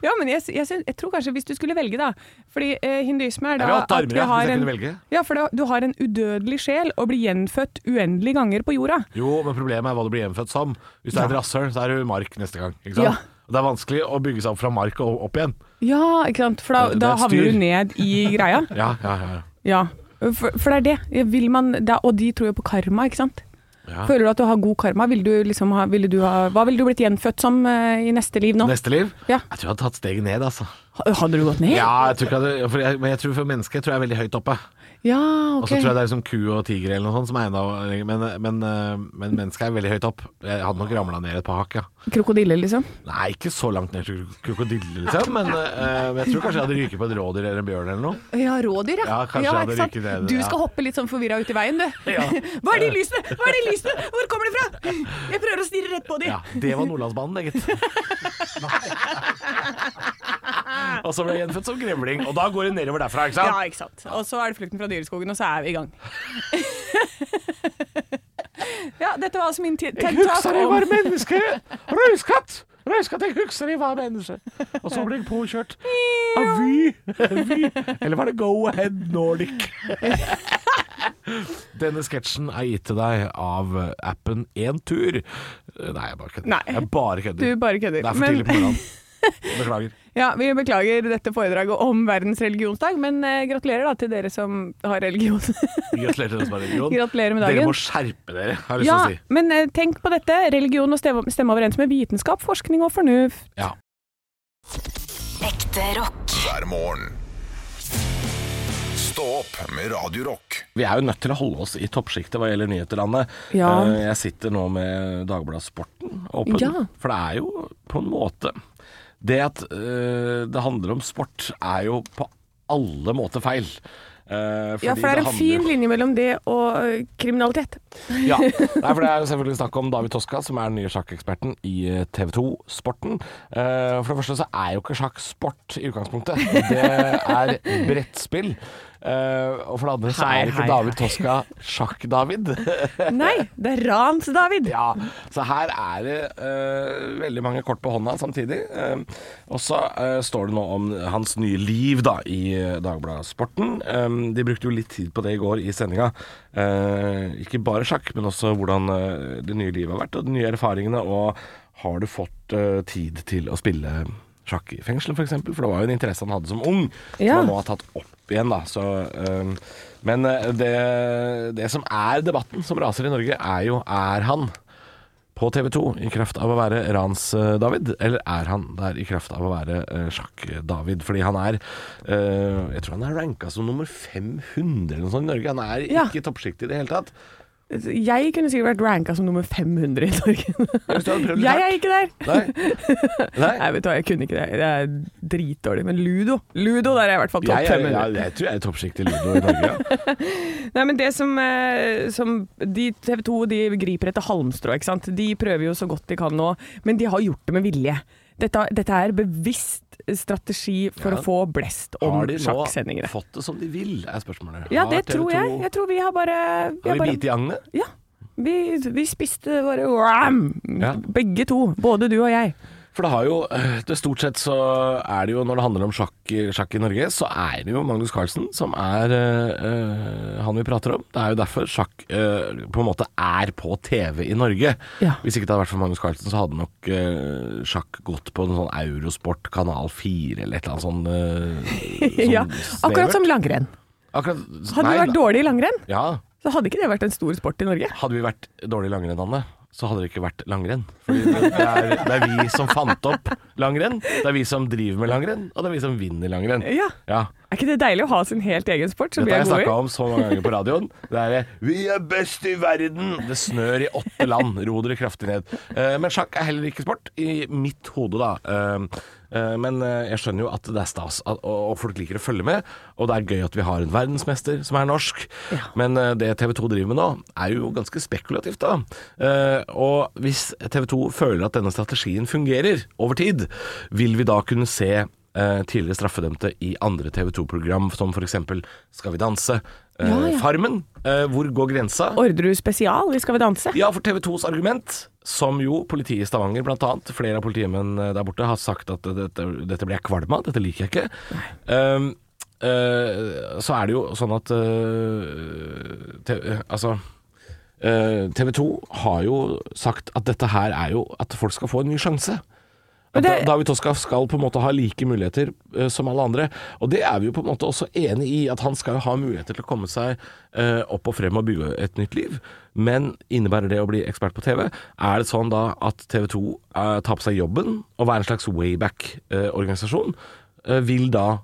Speaker 4: Ja, men jeg, jeg, syn- jeg tror kanskje hvis du skulle velge, da Fordi eh, hinduisme er da
Speaker 3: Jeg vil ha åtte
Speaker 4: at
Speaker 3: armer,
Speaker 4: vi
Speaker 3: ja, hvis
Speaker 4: har
Speaker 3: jeg
Speaker 4: en
Speaker 3: kunne velge.
Speaker 4: Ja, for da, du har en udødelig sjel og blir gjenfødt uendelige ganger på jorda.
Speaker 3: Jo, men problemet er hva du blir hjemfødt som. Hvis du er et rasshøl, så er du mark neste gang. Ikke sant?
Speaker 4: Ja.
Speaker 3: Og det er vanskelig å bygge seg opp fra mark og opp igjen.
Speaker 4: Ja, ikke sant. For da,
Speaker 3: Det er
Speaker 4: da
Speaker 3: et styr.
Speaker 4: havner du ned i greia.
Speaker 3: Ja, ja, ja.
Speaker 4: Ja. For, for det er det. Vil man, da, og de tror jo på karma, ikke sant.
Speaker 3: Ja.
Speaker 4: Føler du at du har god karma? Vil du liksom ha, ville du ha, hva ville du blitt gjenfødt som eh, i neste liv nå?
Speaker 3: Neste liv?
Speaker 4: Ja.
Speaker 3: Jeg tror jeg hadde tatt steget ned, altså.
Speaker 4: Ha- Hadde du gått ned?
Speaker 3: Ja, jeg tror ikke jeg hadde, for jeg, men jeg tror for mennesker tror jeg er veldig høyt oppe.
Speaker 4: Ja,
Speaker 3: Og
Speaker 4: ok.
Speaker 3: så tror jeg det er liksom ku og tiger eller noe sånt som er enda lenger, men, men, eh, men mennesket er veldig høyt opp. Jeg hadde nok ramla ned et par hakk, ja.
Speaker 4: Krokodille, liksom.
Speaker 3: Nei, ikke så langt ned til krok- krokodille, liksom, men eh, men jeg tror kanskje jeg hadde ryket på et rådyr eller en bjørn eller noe.
Speaker 4: Ja, rådyr, ja.
Speaker 3: Ja, kanskje
Speaker 4: ja,
Speaker 3: hadde
Speaker 4: ikke sant?
Speaker 3: ryket ned,
Speaker 4: Du
Speaker 3: ja.
Speaker 4: skal hoppe litt sånn forvirra ut i veien, du. Hva er de lysene? Hva er de lysene? Hvor kommer de fra? Jeg prøver å stirre rett på de.
Speaker 3: Ja, det var Nordlandsbanen, det, gitt. og så ble jeg gjenfødt som grevling, og da går det nedover derfra, ikke
Speaker 4: Ja,
Speaker 3: sant?
Speaker 4: ikke sant. Og så er det flukten fra dyreskogen, og så er vi i gang. ja, dette var altså min te- TED Talk om-
Speaker 3: menneske! Røyskatt! Røyskatt, jeg husker jeg var menneske. Og så ble jeg påkjørt av Vy. Vy. Eller var det Go Ahead Nordic? Denne sketsjen er gitt til deg av appen Én tur. Nei, jeg bare kødder.
Speaker 4: Nei.
Speaker 3: Jeg bare kødder.
Speaker 4: Du bare kødder.
Speaker 3: Det er for
Speaker 4: Men-
Speaker 3: tidlig på morgenen. Beklager.
Speaker 4: Ja, vi beklager dette foredraget om verdens religionsdag, men eh, gratulerer da til dere som har religion.
Speaker 3: Gratulerer til dere som har religion.
Speaker 4: Gratulerer med dagen.
Speaker 3: Dere må skjerpe dere, har jeg lyst til
Speaker 4: ja,
Speaker 3: å si.
Speaker 4: men eh, tenk på dette. Religion og stemme, stemme overens med vitenskap, forskning og fornuft.
Speaker 3: Ja.
Speaker 1: Ekte rock.
Speaker 2: hver morgen. Stå opp med Radio Rock.
Speaker 7: Vi er jo nødt til å holde oss i toppsjiktet hva gjelder nyheterlandet.
Speaker 4: Ja.
Speaker 7: Eh, Jeg sitter nå med Dagbladet Sporten åpen,
Speaker 4: Ja.
Speaker 7: for det er jo på en måte Det at eh, det handler om sport, er jo på alle måter feil. Eh,
Speaker 4: Ja,
Speaker 7: fordi
Speaker 4: for det er en
Speaker 7: handler-
Speaker 4: fin linje mellom det og eh, kriminalitet.
Speaker 3: Ja. Nei, for det er jo selvfølgelig snakk om David Toska, som er den nye sjakkeksperten i eh, TV 2 Sporten. Eh, for det første så er jo ikke sjakk sport i utgangspunktet. Det er brettspill. Eh, og for det andre så er
Speaker 4: Hei,
Speaker 3: ikke
Speaker 4: hei,
Speaker 3: David
Speaker 4: hei.
Speaker 3: Toska sjakk-David.
Speaker 4: Nei, det er rans, David.
Speaker 3: ja, så her er det eh, veldig mange kort på hånda samtidig. Eh, og så eh, står det nå om hans nye liv da, i eh, Dagbladet Sporten. Eh, de brukte jo litt tid på det i går i sendinga. Eh, ikke bare sjakk, men også hvordan eh, det nye livet har vært, og de nye erfaringene. Og har du fått eh, tid til å spille sjakk i fengselet, f.eks.? For, eksempel? for det var jo en interesse han hadde som ung,
Speaker 4: Ja.
Speaker 3: som han nå har tatt opp igjen. da så, eh, Men eh, det, det som er debatten som raser i Norge, er jo er han på TV 2 i kraft av å være Rans-David, eller er han der i kraft av å være eh, Sjakk-David? Fordi han er eh, Jeg tror han er ranka som nummer 500 eller noe sånt i Norge. Han er
Speaker 4: Ja.
Speaker 3: ikke i toppsjiktet i det hele tatt.
Speaker 4: Jeg kunne sikkert vært ranka som nummer 500 i Norge.
Speaker 3: Hvis du hadde prøvd litt
Speaker 4: Jeg er
Speaker 3: hardt.
Speaker 4: ikke der.
Speaker 3: Nei. Nei.
Speaker 4: Nei, vet du hva, jeg kunne ikke det. Det er dritdårlig. Men Ludo, Ludo der er jeg i hvert fall topp
Speaker 3: Jeg, jeg,
Speaker 4: 500.
Speaker 3: jeg, jeg tror jeg er i toppsjiktet i Ludo i Norge. Ja.
Speaker 4: Nei, men det som, eh, som de, TV 2 de griper etter halmstrå, ikke sant. De prøver jo så godt de kan nå, men de har gjort det med vilje. Dette, dette er bevisst strategi for
Speaker 3: Ja.
Speaker 4: å få blest om
Speaker 3: Har de nå
Speaker 4: sjakksendingere.
Speaker 3: fått det som de vil, er spørsmålet.
Speaker 4: Ja,
Speaker 3: Har
Speaker 4: det
Speaker 3: TV2
Speaker 4: tror jeg. Jeg tror vi har bare vi
Speaker 3: Har vi
Speaker 4: har bare,
Speaker 3: bite i agnet?
Speaker 4: ja, vi, vi spiste bare wham,
Speaker 3: Ja.
Speaker 4: begge to. Både du og jeg.
Speaker 7: For det har jo eh, det Stort sett så er det jo, når det handler om sjakk, sjakk i Norge, så er det jo Magnus Carlsen som er eh, eh, han vi prater om. Det er jo derfor sjakk eh, på en måte er på TV i Norge.
Speaker 4: Ja.
Speaker 7: Hvis ikke det hadde vært for Magnus Carlsen, så hadde nok eh, sjakk gått på en sånn Eurosport kanal 4 eller et eller annet sånn eh, sånn
Speaker 4: Ja, akkurat
Speaker 7: snevert.
Speaker 4: som langrenn.
Speaker 7: Akkurat-
Speaker 4: Hadde
Speaker 7: nei,
Speaker 4: vi vært
Speaker 7: da-
Speaker 4: dårlige i langrenn,
Speaker 7: Ja.
Speaker 4: så hadde ikke det vært en stor sport i Norge.
Speaker 7: Hadde vi vært dårlig i langrenn, Anne, så hadde det ikke vært langrenn. Fordi det, det, er, det er vi som fant opp langrenn, det er vi som driver med langrenn, og det er vi som vinner langrenn.
Speaker 4: Ja.
Speaker 7: Ja.
Speaker 4: Er ikke det deilig å ha sin helt egen sport som
Speaker 7: Dette
Speaker 4: vi
Speaker 7: har
Speaker 4: er
Speaker 7: jeg
Speaker 4: gode i?
Speaker 7: snakka om så mange ganger på radioen. Det er eh, 'Vi er best i verden'. Det snør i åtte land. Ro dere kraftig ned. Eh, Men sjakk er heller ikke sport, i mitt hode, da. Eh, eh, Men eh, jeg skjønner jo at det er stas, at- og og folk liker å følge med. Og det er gøy at vi har en verdensmester som er norsk. Men eh, det TV 2 driver med nå, er jo ganske spekulativt, da. Eh, Og hvis TV 2 føler at denne strategien fungerer over tid, vil vi da kunne se eh,
Speaker 3: eh, tidligere straffedømte i andre TV 2-program, som f.eks. Skal vi danse, eh,
Speaker 4: Ja, ja.
Speaker 3: Farmen. Eh, hvor går grensa?
Speaker 4: Orderud spesial i Skal vi danse?
Speaker 3: Ja, for TV 2s argument, som jo politiet i Stavanger blant annet, flere av politimenn eh, der borte har sagt at dette, dette blir jeg kvalm av, dette liker jeg ikke. Um, eh, så er det jo sånn at eh, te, eh, Altså eh, TV 2 har jo sagt at dette her er jo at folk skal få en ny sjanse.
Speaker 4: Men
Speaker 3: Da-
Speaker 4: det-
Speaker 3: David Toska skal på en måte ha like muligheter eh, som alle andre, og det er vi jo på en måte også enig i, at han skal jo ha muligheter til å komme seg eh, opp og frem og bygge et nytt liv. Men innebærer det å bli ekspert på TV? Er det sånn da at TV 2 eh, tar på seg jobben og er en slags wayback-organisasjon? Eh, vil da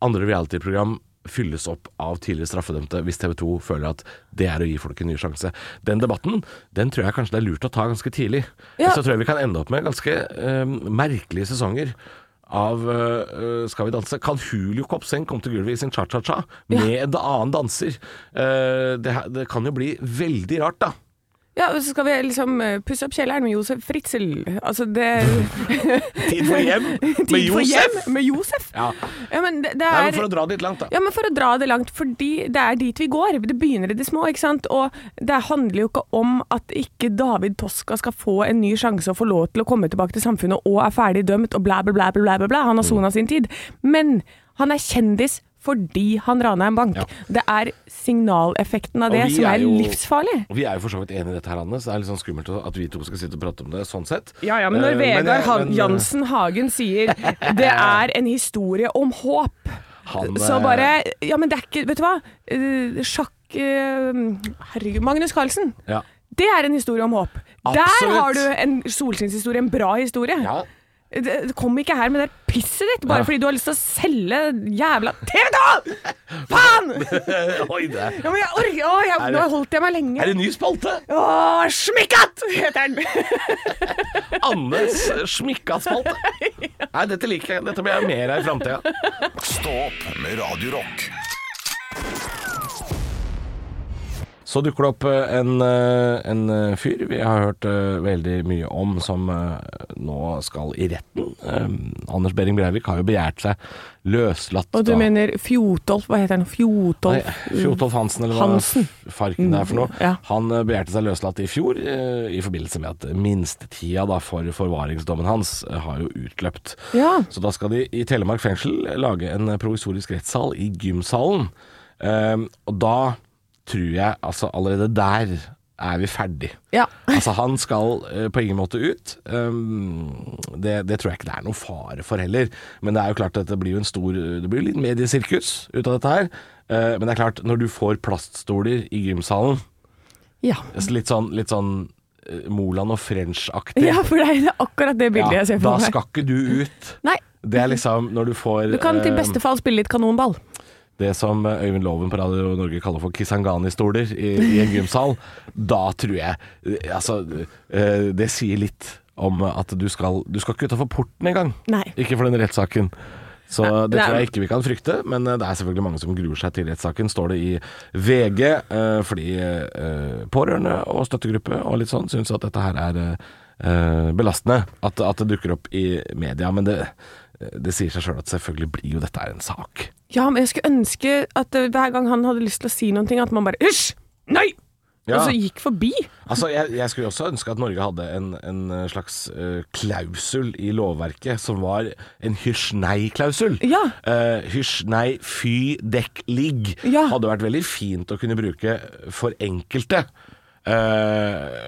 Speaker 3: andre reality-program fylles opp av tidligere straffedømte hvis TV 2 føler at det er å gi folk en ny sjanse. Den debatten den tror jeg kanskje det er lurt å ta ganske tidlig.
Speaker 4: Ja.
Speaker 3: Så tror jeg vi kan ende opp med ganske eh, merkelige sesonger av eh, Skal vi danse. Kan Hulio Kopseng komme til gulvet i sin cha-cha-cha med en annen danser? Eh, det, her- det kan jo bli veldig rart, da.
Speaker 4: Ja, og så skal vi liksom eh, pusse opp kjelleren med Josef Fritzel. Altså det
Speaker 3: Tid for hjem med
Speaker 4: Tid for
Speaker 3: Josef!
Speaker 4: hjem Med Josef.
Speaker 3: Ja.
Speaker 4: Ja, men det, det
Speaker 3: Nei,
Speaker 4: er
Speaker 3: men for å dra det litt langt, da.
Speaker 4: Ja, men for å dra det langt, fordi det er dit vi går. Det begynner i det små, ikke sant. Og det handler jo ikke om at ikke David Toska skal få en ny sjanse og få lov til å komme tilbake til samfunnet og er ferdig dømt og bla, bla, bla, bla, bla, bla, bla.
Speaker 3: Mm.
Speaker 4: Han har sona sin tid. Men han er kjendis fordi han rana en bank.
Speaker 3: Ja.
Speaker 4: Det er signaleffekten av
Speaker 3: Og
Speaker 4: det
Speaker 3: vi er
Speaker 4: som er,
Speaker 3: jo-
Speaker 4: livsfarlig.
Speaker 3: Og Vi er jo for så vidt enige i dette her, Anne, så det er litt sånn skummelt at vi to skal sitte og prate om det sånn sett.
Speaker 4: Ja, ja, men når
Speaker 3: Eh,
Speaker 4: Vegard
Speaker 3: jeg-
Speaker 4: Han-
Speaker 3: men, eh,
Speaker 4: Jansen Hagen sier 'det er en historie om håp',
Speaker 3: han,
Speaker 4: så
Speaker 3: eh,
Speaker 4: bare Ja, men det er ikke Vet du hva? Eh, sjakk eh, Herregud. Magnus Carlsen.
Speaker 3: ja.
Speaker 4: Det er en historie om håp. Der
Speaker 3: Absolutt.
Speaker 4: har du en solskinnshistorie, en bra historie. Eh,
Speaker 3: ja.
Speaker 4: Det- Kom ikke her med det pisset ditt, bare
Speaker 3: Ja.
Speaker 4: fordi du har lyst til å selge jævla TV 2! Faen!
Speaker 3: Oi, det er-
Speaker 4: Ja, men jeg orker Å, jeg,
Speaker 3: det-
Speaker 4: nå holdt jeg meg
Speaker 3: er
Speaker 4: lenge.
Speaker 3: det en ny spalte?
Speaker 4: Å, smikkat! heter den.
Speaker 3: Annes smikka-spalte. Nei, dette liker jeg. Dette blir jeg mer av i framtida.
Speaker 2: Stå opp med Radio Rock.
Speaker 3: Så dukker det opp eh, en, eh, en eh, fyr vi har hørt eh, veldig mye om, som eh, nå skal i retten. Eh, Anders Behring Breivik har jo begjært seg løslatt.
Speaker 4: Og du
Speaker 3: da.
Speaker 4: mener Fjotolf, hva heter han? Fjotolf?
Speaker 3: Nei, Fjotolf Hansen, eller hva
Speaker 4: Hansen.
Speaker 3: f- farken det er for noe.
Speaker 4: Ja.
Speaker 3: Han eh, begjærte seg løslatt i fjor eh, i forbindelse med at minstetida da, for forvaringsdommen hans eh, har jo utløpt.
Speaker 4: Ja.
Speaker 3: Så da skal de i Telemark fengsel lage en eh, provisorisk rettssal i gymsalen. Ehm, og da tror jeg altså allerede der er vi ferdig.
Speaker 4: Ja.
Speaker 3: altså han skal eh, på ingen måte ut. Ehm, det, det tror jeg ikke det er noe fare for heller. Men det er jo klart at det blir jo en stor eh, Det blir jo litt mediesirkus ut av dette her. Eh, men det er klart, når du får plaststoler i gymsalen,
Speaker 4: Mm, Ja.
Speaker 3: litt sånn, litt sånn eh, Moland og French-aktig
Speaker 4: ja, for det er akkurat det bildet
Speaker 3: Ja,
Speaker 4: jeg ser
Speaker 3: Da
Speaker 4: for meg.
Speaker 3: skal ikke du ut.
Speaker 4: Nei,
Speaker 3: Det er liksom når du får
Speaker 4: du kan til
Speaker 3: eh,
Speaker 4: beste fall spille litt kanonball.
Speaker 3: det som Øyvind Loven på Radio Norge kaller for Kisangani-stoler i, i en gymsal. Da tror jeg eh, Altså, eh, det sier litt om at du skal Du skal ikke utafor porten engang.
Speaker 4: Nei.
Speaker 3: Ikke for den rettssaken. Så det
Speaker 4: det er-
Speaker 3: tror jeg ikke vi kan frykte, men eh, det er selvfølgelig mange som gruer seg til rettssaken, står det i VG. eh, Fordi eh, pårørende og støttegruppe og litt sånn syns at dette her er eh, belastende. At, at det dukker opp i media. Men det, eh, det sier seg sjøl at selvfølgelig blir jo dette her en sak.
Speaker 4: Ja, men jeg skulle ønske at eh, hver gang han hadde lyst til å si noen ting, at man bare Hysj! Nei!
Speaker 3: Ja.
Speaker 4: Og så gikk forbi.
Speaker 3: Altså, jeg, jeg skulle også ønske at Norge hadde en, en slags eh, klausul i lovverket som var en hysj-nei-klausul.
Speaker 4: Ja.
Speaker 3: Eh, hysj, nei, fy, dekk, ligg.
Speaker 4: Ja.
Speaker 3: Hadde vært veldig fint å kunne bruke for enkelte. Eh,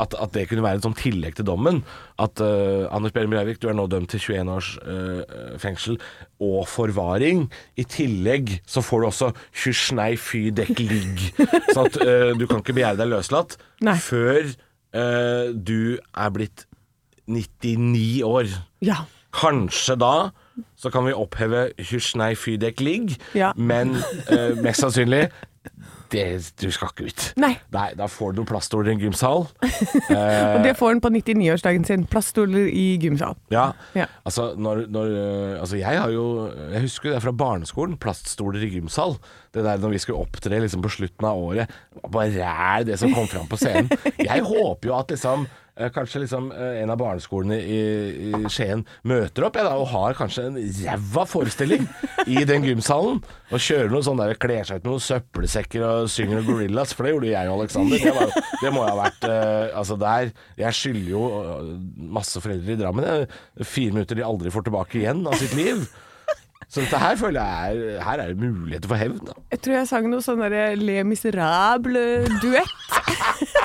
Speaker 3: at, at det kunne være en sånn tillegg til dommen. At eh, Anders Behring Breivik, du er nå dømt til 21 års eh, fengsel og forvaring. I tillegg så får du også hysj, nei, fy, dekk, ligg. sånn at eh, du kan ikke begjære deg løslatt
Speaker 4: Nei.
Speaker 3: før eh, du er blitt 99 år.
Speaker 4: Ja.
Speaker 3: Kanskje da så kan vi oppheve hysj, nei, fy, dekk, ligg.
Speaker 4: Ja.
Speaker 3: Men eh, mest sannsynlig det, Du skal ikke ut.
Speaker 4: Nei.
Speaker 3: Da får du noen plaststoler i en gymsal. Eh,
Speaker 4: Og det får han på 99-årsdagen sin. Plaststoler i gymsal.
Speaker 3: Ja.
Speaker 4: Ja.
Speaker 3: Altså, når, når, eh, altså, jeg har jo Jeg husker jo det fra barneskolen. Plaststoler i gymsal. Det der når vi skulle opptre liksom, på slutten av året. det var Bare ræl, det som kom fram på scenen. Jeg håper jo at liksom eh, kanskje liksom eh, en av barneskolene i, i Skien møter opp jeg, da, og har kanskje en ræva forestilling i den gymsalen. Og kjører noe sånn der, kler seg ut med noen søppelsekker og synger noen gorillas, for det gjorde jeg og Alexander. Det, var, jo- det må jo ha vært eh, Altså der Jeg skylder jo eh, masse foreldre i Drammen. jeg. Fire minutter de aldri får tilbake igjen av sitt liv. Så dette her føler jeg er, her er det muligheter for hevn. Da.
Speaker 4: Jeg tror jeg sang noe sånn derre Le Miserable-duett.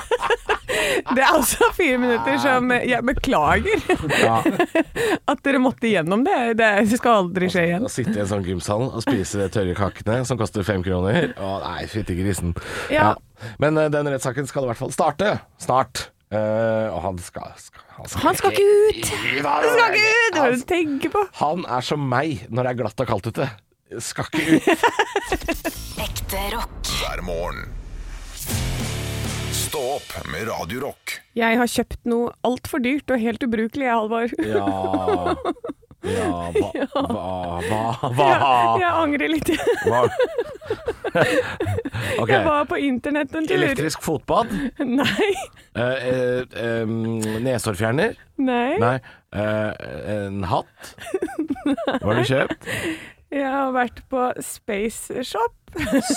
Speaker 4: Det er altså fire minutter som eh, Jeg beklager at dere måtte igjennom det. Det skal aldri skje igjen.
Speaker 3: Å sitte i en sånn gymsal og spise de tørre kakene som koster fem kroner. Å nei, fytti grisen.
Speaker 4: Ja.
Speaker 3: Men eh, den rettssaken skal i hvert fall starte snart. Eh, og han skal, skal,
Speaker 4: Han skal ikke ut!
Speaker 3: Han
Speaker 4: Han skal ikke ut! Hva er det du tenker på?
Speaker 3: Han er som meg når det er glatt og kaldt ute. Skal ikke ut.
Speaker 1: Ekte rock.
Speaker 2: hver morgen. Stå opp med Radio Rock.
Speaker 4: Jeg har kjøpt noe altfor dyrt og helt ubrukelig, jeg, Halvor.
Speaker 3: Ja Ja, hva Hva? Hva?
Speaker 4: Jeg,
Speaker 3: hva?
Speaker 4: jeg angrer litt.
Speaker 3: Hva? Ok.
Speaker 4: Jeg var på internett en tur.
Speaker 3: Elektrisk fotbad.
Speaker 4: Nei.
Speaker 3: Eh, eh, eh, Neshårfjerner.
Speaker 4: Nei.
Speaker 3: Nei. Eh, en hatt. Hva har du kjøpt?
Speaker 4: Jeg har vært på Spaceshop.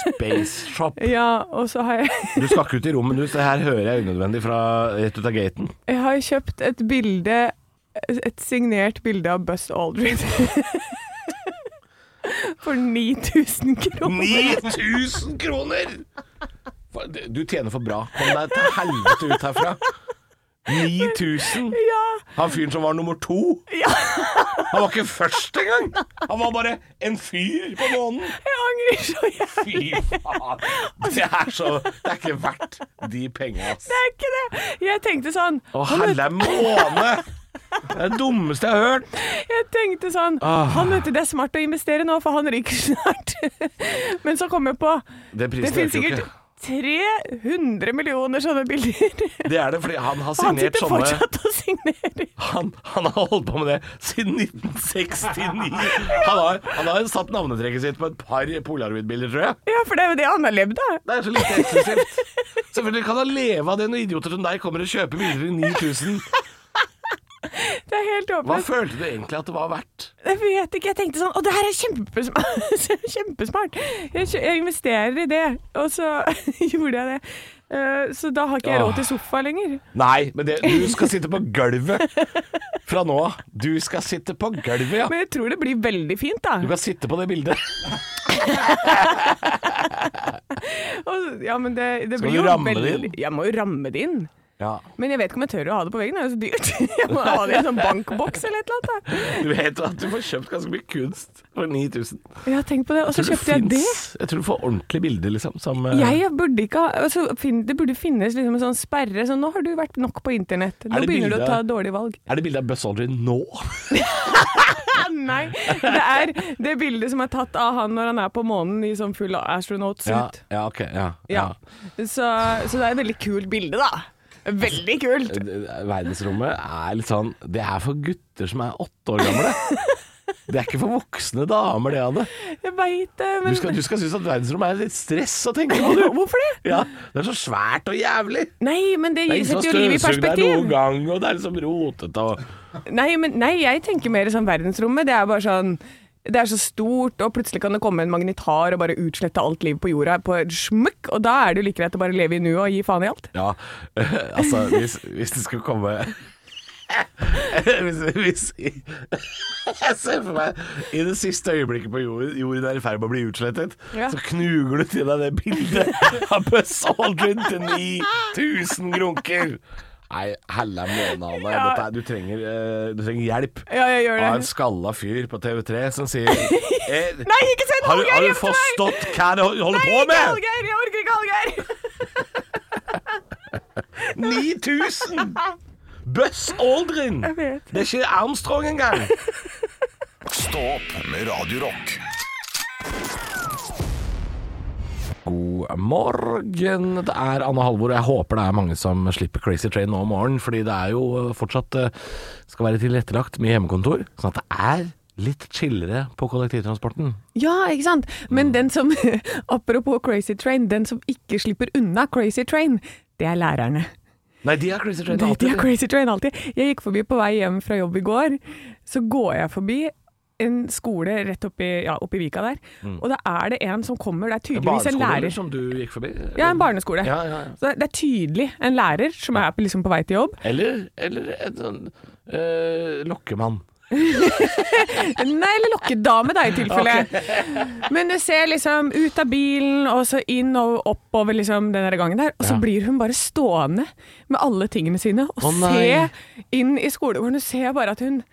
Speaker 3: Space Shop.
Speaker 4: Ja, og så har jeg
Speaker 3: Du skal ikke ut i rommet, du. Det her hører jeg unødvendig fra rett ut av gaten.
Speaker 4: Jeg har kjøpt et bilde Et signert bilde av Buzz Aldrin. For 9000 kroner.
Speaker 3: 9000 kroner! Hva- du- Du tjener for bra. Kom deg til helvete ut herfra. 9000!
Speaker 4: Ja,
Speaker 3: Han fyren som var nummer to. Han var ikke først engang! Han var bare en fyr på månen.
Speaker 4: jeg angrer så jævlig.
Speaker 3: Fy faen. Det er så Det er ikke verdt de penga, ass.
Speaker 4: Det er ikke det. Jeg tenkte sånn
Speaker 3: Å,
Speaker 4: han
Speaker 3: helle måne! Det er det dummeste jeg har hørt.
Speaker 4: Jeg tenkte sånn Han vet du, det er smart å investere nå, for han ryker snart. Men så kom jeg på
Speaker 3: Den prisen
Speaker 4: Det finnes
Speaker 3: øker jo
Speaker 4: sikkert
Speaker 3: ikke.
Speaker 4: 300 millioner sånne bilder.
Speaker 3: Det er det, fordi han har
Speaker 4: Og han
Speaker 3: signert
Speaker 4: sitter
Speaker 3: sånne
Speaker 4: fortsatt og signerer.
Speaker 3: han, han har holdt på med det siden 1969. Han har, han har satt navnetrekket sitt på et par polaroidbilder, tror jeg.
Speaker 4: Ja, for det er jo det han har levd av.
Speaker 3: Det er så lite eksklusivt. Selvfølgelig kan han leve av det når idioter som deg kommer og kjøper bilder i 9000.
Speaker 4: Det er helt
Speaker 3: Hva
Speaker 4: åpent.
Speaker 3: følte du egentlig at det var verdt?
Speaker 4: Jeg vet ikke. Jeg tenkte sånn Å, det her er kjempesmart! kjempesmart. Jeg, kjø- jeg investerer i det. Og så gjorde jeg det. Eh, så da har ikke jeg råd til sofa lenger.
Speaker 3: Nei, men det, du skal sitte på gulvet fra nå av. Du skal sitte på gulvet, ja.
Speaker 4: Men jeg tror det blir veldig fint, da.
Speaker 3: Du kan sitte på det bildet.
Speaker 4: Og, ja, men det, det
Speaker 3: Skal
Speaker 4: blir
Speaker 3: du
Speaker 4: jo
Speaker 3: ramme
Speaker 4: veldig,
Speaker 3: det inn?
Speaker 4: Jeg må jo ramme det inn.
Speaker 3: Ja.
Speaker 4: Men jeg vet ikke om jeg tør å ha det på veggen, det er jo så dyrt. Jeg må ha det i en sånn bankboks eller et eller annet.
Speaker 3: Du vet at du får kjøpt ganske mye kunst for 9000.
Speaker 4: da. Ja, tenk på det. Og så kjøpte jeg det.
Speaker 3: Jeg tror du får ordentlige bilder, liksom. Som, eh,
Speaker 4: Jeg burde ikke ha altså, fin- Det burde finnes liksom en sånn sperre. Så nå har du vært nok på internett. Nå
Speaker 3: det
Speaker 4: begynner du
Speaker 3: bildet-
Speaker 4: å ta dårlige valg.
Speaker 3: Er det bilde av Buzz Aldrin nå?
Speaker 4: Ah, Nei. Det er det bildet som er tatt av han når han er på månen i sånn full astronaut-suit.
Speaker 3: ja ok. Ja,
Speaker 4: Ja. Så, så det er et veldig kult bilde, da. Veldig kult.
Speaker 3: Eh, Verdensrommet er litt sånn Det er for gutter som er åtte år gamle. Det er ikke for voksne damer, det, Anne.
Speaker 4: Jeg veit det,
Speaker 3: Du
Speaker 4: men
Speaker 3: skal, du skal synes at verdensrommet er litt stress å tenke på, du.
Speaker 4: Hvorfor det?
Speaker 3: Ja, det er så svært og jævlig.
Speaker 4: Nei, men det,
Speaker 3: Det er ingen som
Speaker 4: setter jo livet i
Speaker 3: støvsugd der noen
Speaker 4: perspektiv.
Speaker 3: gang, og det er liksom rotete og
Speaker 4: Nei, men, nei, jeg tenker mer sånn verdensrommet. Det er bare sånn det er så stort, og plutselig kan det komme en magnetar og bare utslette alt liv på jorda på et smukk, og da er det jo like greit å bare leve i nuet og gi faen i alt.
Speaker 3: Ja, altså, hvis, hvis det skulle komme hvis, hvis Jeg ser for meg I det siste øyeblikket på jorden Jorden er i ferd med å bli utslettet
Speaker 4: Ja.
Speaker 3: Så knuger du til deg det bildet Av Buzz Aldrin til 9000 grunker Nei, helle måned Anne
Speaker 4: Ja.
Speaker 3: Dette er- du, trenger, eh, du trenger hjelp
Speaker 4: Ja, jeg gjør det.
Speaker 3: Av en skalla fyr på TV3 Som sier eh,
Speaker 4: Nei, ikke send
Speaker 3: har, du-
Speaker 4: Hallgeir
Speaker 3: har du
Speaker 4: hjem til meg!
Speaker 3: forstått hva du holder på
Speaker 4: Ikke
Speaker 3: med?
Speaker 4: Hallgeir! Jeg orker ikke Hallgeir!
Speaker 3: 9000! Buzz Aldrin! Det
Speaker 4: vet.
Speaker 3: er ikke Armstrong engang.
Speaker 2: Stå opp med Radio Rock.
Speaker 3: God morgen. Det er Anne Halvor, og jeg håper det er mange som slipper Crazy Train nå om morgenen. Fordi det er jo fortsatt eh, skal være tilrettelagt med hjemmekontor, sånn at det er litt chillere på kollektivtransporten.
Speaker 4: Ja, ikke sant? Men
Speaker 3: Mm.
Speaker 4: den som, apropos Crazy Train, den som ikke slipper unna Crazy Train, det er lærerne.
Speaker 3: Nei, de har Crazy Train
Speaker 4: De, de
Speaker 3: alltid.
Speaker 4: har Crazy Train alltid. Jeg gikk forbi på vei hjem fra jobb i går, så går jeg forbi en skole rett oppi, ja, oppi Vika der,
Speaker 3: Mm.
Speaker 4: og da er det en som kommer, det er tydeligvis en
Speaker 3: Barneskolen
Speaker 4: lærer.
Speaker 3: som liksom, du gikk forbi?
Speaker 4: Ja, en barneskole.
Speaker 3: Ja, ja, ja.
Speaker 4: Så det- det er tydelig en lærer som er på- liksom på vei til jobb.
Speaker 3: Eller, eller en sånn eh, lokkemann.
Speaker 4: Nei, eller lokkedame, da, i tilfelle. Men du ser liksom ut av bilen, og så inn og oppover liksom, den der gangen der. Og så
Speaker 3: Ja.
Speaker 4: blir hun bare stående med alle tingene sine og
Speaker 3: Å, nei.
Speaker 4: se inn i skolegården. Du ser bare at hun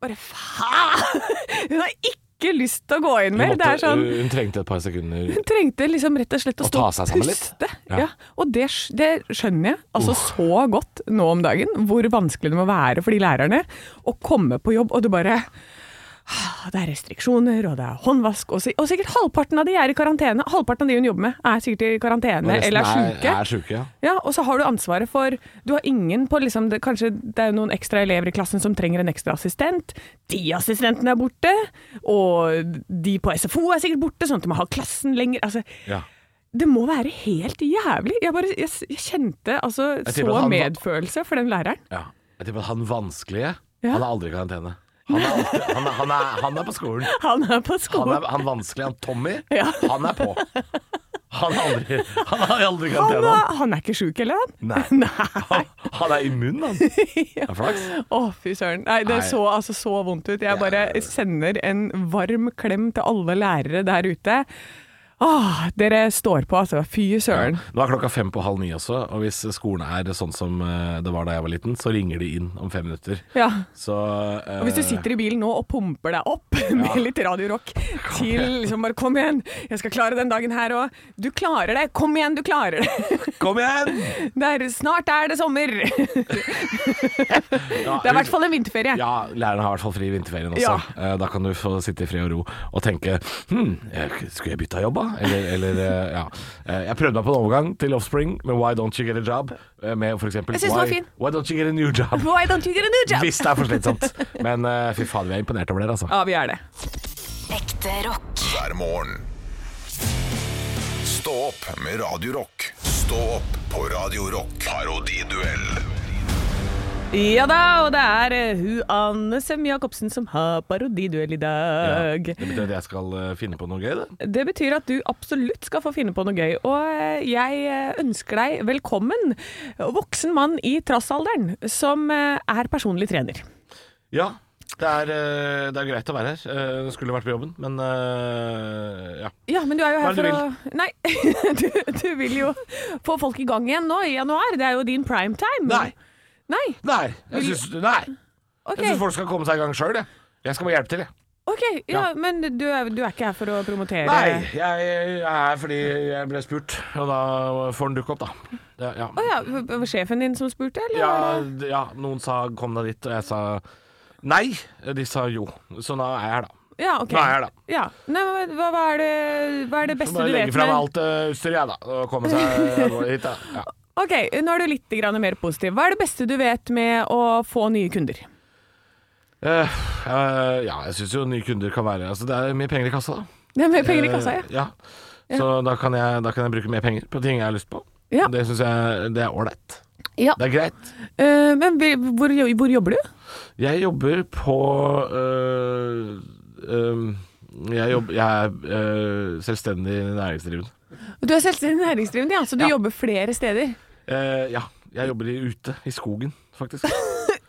Speaker 4: bare faen! Hun har ikke lyst til å gå inn
Speaker 3: Hun,
Speaker 4: mer. Det
Speaker 3: måtte-
Speaker 4: er sånn
Speaker 3: hun trengte et par sekunder.
Speaker 4: hun trengte liksom rett og slett å
Speaker 3: Mm. Å
Speaker 4: stå
Speaker 3: ta
Speaker 4: og
Speaker 3: seg sammen litt.
Speaker 4: puste.
Speaker 3: Ja.
Speaker 4: Ja. Og det, sk- det skjønner jeg altså så godt nå om dagen, hvor vanskelig det må være for de lærerne å komme på jobb, og du bare «Ah, det er restriksjoner, og det er håndvask Og, si- og sikkert halvparten av de er i karantene. Halvparten av de hun jobber med, er sikkert i
Speaker 3: Og
Speaker 4: karantene
Speaker 3: resten
Speaker 4: eller er sjuke.
Speaker 3: Er syke ja.
Speaker 4: Ja, og så har du ansvaret for Du har ingen på liksom det, Kanskje det er noen ekstra elever i klassen som trenger en ekstra assistent. De assistentene er borte, og de på SFO er sikkert borte, sånn at de må ha klassen lenger. Altså,
Speaker 3: Ja.
Speaker 4: det må være helt jævlig. Jeg, bare, jeg, s- jeg kjente altså
Speaker 3: Jeg tipper at
Speaker 4: så
Speaker 3: han-
Speaker 4: medfølelse for den læreren.
Speaker 3: Ja. Jeg tipper at han vanskelige,
Speaker 4: Ja.
Speaker 3: han er aldri i karantene. Han er, alltid, han, er, han, er, han er på skolen.
Speaker 4: Han er på
Speaker 3: Han,
Speaker 4: skolen.
Speaker 3: er, han vanskelige, han Tommy,
Speaker 4: Ja.
Speaker 3: han er på. Han er aldri, han er aldri i
Speaker 4: Han
Speaker 3: karantene.
Speaker 4: er, han er ikke sjuk heller, han?
Speaker 3: Nei.
Speaker 4: Nei.
Speaker 3: Han, han er immun, han. Det er flaks.
Speaker 4: Å, fy søren. Nei, det
Speaker 3: Nei.
Speaker 4: så altså så vondt ut. Jeg bare sender en varm klem til alle lærere der ute. Åh, dere står på, altså. Fy søren.
Speaker 3: Nå er klokka fem på halv ni også, og hvis skolen er sånn som eh, det var da jeg var liten, så ringer de inn om fem minutter.
Speaker 4: Ja.
Speaker 3: Så eh,
Speaker 4: Og hvis du sitter i bilen nå og pumper deg opp med litt Radio Rock til liksom bare 'kom igjen, jeg skal klare den dagen her òg'. Du klarer det! Kom igjen, du klarer det!
Speaker 3: Kom igjen!
Speaker 4: det er, snart er det sommer! Det er i hvert fall en vinterferie.
Speaker 3: Ja, læreren har i hvert fall fri i vinterferien også. Eh, Da kan du få sitte i fred og ro og tenke Hm, jeg- skulle jeg bytta jobb, da? Eller, eller eh, ja. Eh, Jeg prøvde meg på en overgang til Offspring med Why Don't You Get A Job? eh, Med for eksempel
Speaker 4: Jeg synes den var
Speaker 3: why,
Speaker 4: fin.
Speaker 3: why Don't You Get A New Job?
Speaker 4: Why don't you get a new job? Ah,
Speaker 3: Hvis det er for slitsomt. Men eh, fy fader, vi er imponert over dere, altså.
Speaker 4: Ja, vi er det.
Speaker 1: Ekte rock.
Speaker 2: hver morgen. Stå opp med Radio Rock. Stå opp på Radio Rock. Parodiduell
Speaker 4: Ja da, og det er eh, hun Anne Sem Jacobsen som har parodiduell i
Speaker 3: Ja,
Speaker 4: dag.
Speaker 3: det betyr at jeg skal eh, finne på noe gøy, det.
Speaker 4: Det betyr at du absolutt skal få finne på noe gøy, og eh, jeg eh, ønsker deg velkommen. Voksen mann i trassalderen som eh, er personlig trener.
Speaker 3: Ja. Det er, eh, det er greit å være her. Eh, Det skulle vært på jobben, men eh, ja.
Speaker 4: Ja, men du er jo
Speaker 3: Hva
Speaker 4: her
Speaker 3: er det du
Speaker 4: for å Nei, du, du vil jo få folk i gang igjen nå i januar. Det er jo din prime time.
Speaker 3: Nei.
Speaker 4: Nei?
Speaker 3: Nei. Jeg
Speaker 4: Vil-
Speaker 3: syns, nei.
Speaker 4: OK.
Speaker 3: Jeg syns folk skal komme seg i gang sjøl, jeg. Jeg skal bare hjelpe til, jeg.
Speaker 4: Ok, ja, Men du er, du er ikke her for å promotere
Speaker 3: Nei, jeg jeg er her fordi jeg ble spurt, og da får den dukke opp, da. Det, ja.
Speaker 4: Å ja, var det sjefen din som spurte, eller?
Speaker 3: Ja,
Speaker 4: var det-
Speaker 3: d- ja, noen sa 'kom deg dit', og jeg sa nei. De sa jo. Så nå er jeg her, da.
Speaker 4: Ja, ok.
Speaker 3: Nå er jeg her, da.
Speaker 4: Ja. Nei, men hva, hva, er det, hva er det
Speaker 3: Så
Speaker 4: beste
Speaker 3: må
Speaker 4: du
Speaker 3: jeg
Speaker 4: vet
Speaker 3: legge fram alt eh, utstyret, jeg, da. Og komme seg hit, da. Ja.
Speaker 4: Ok, nå er du litt grann mer positiv. Hva er det beste du vet med å få nye kunder?
Speaker 3: Eh, eh, ja, jeg syns jo nye kunder kan være Altså, det er mye penger i kassa, da.
Speaker 4: Det er mer penger i kassa, ja.
Speaker 3: Eh, Så da kan, jeg, da kan jeg bruke mer penger på ting jeg har lyst på.
Speaker 4: Ja.
Speaker 3: Det syns jeg det er ålreit.
Speaker 4: Ja.
Speaker 3: Det er greit.
Speaker 4: Eh, men vi- hvor, jo- hvor jobber du?
Speaker 3: Jeg jobber på øh, øh, jeg, jobb, jeg er øh, selvstendig næringsdrivende.
Speaker 4: Du er selvstendig næringsdrivende, ja, så du jobber flere steder.
Speaker 3: Eh, ja, jeg jobber i- ute i skogen, faktisk.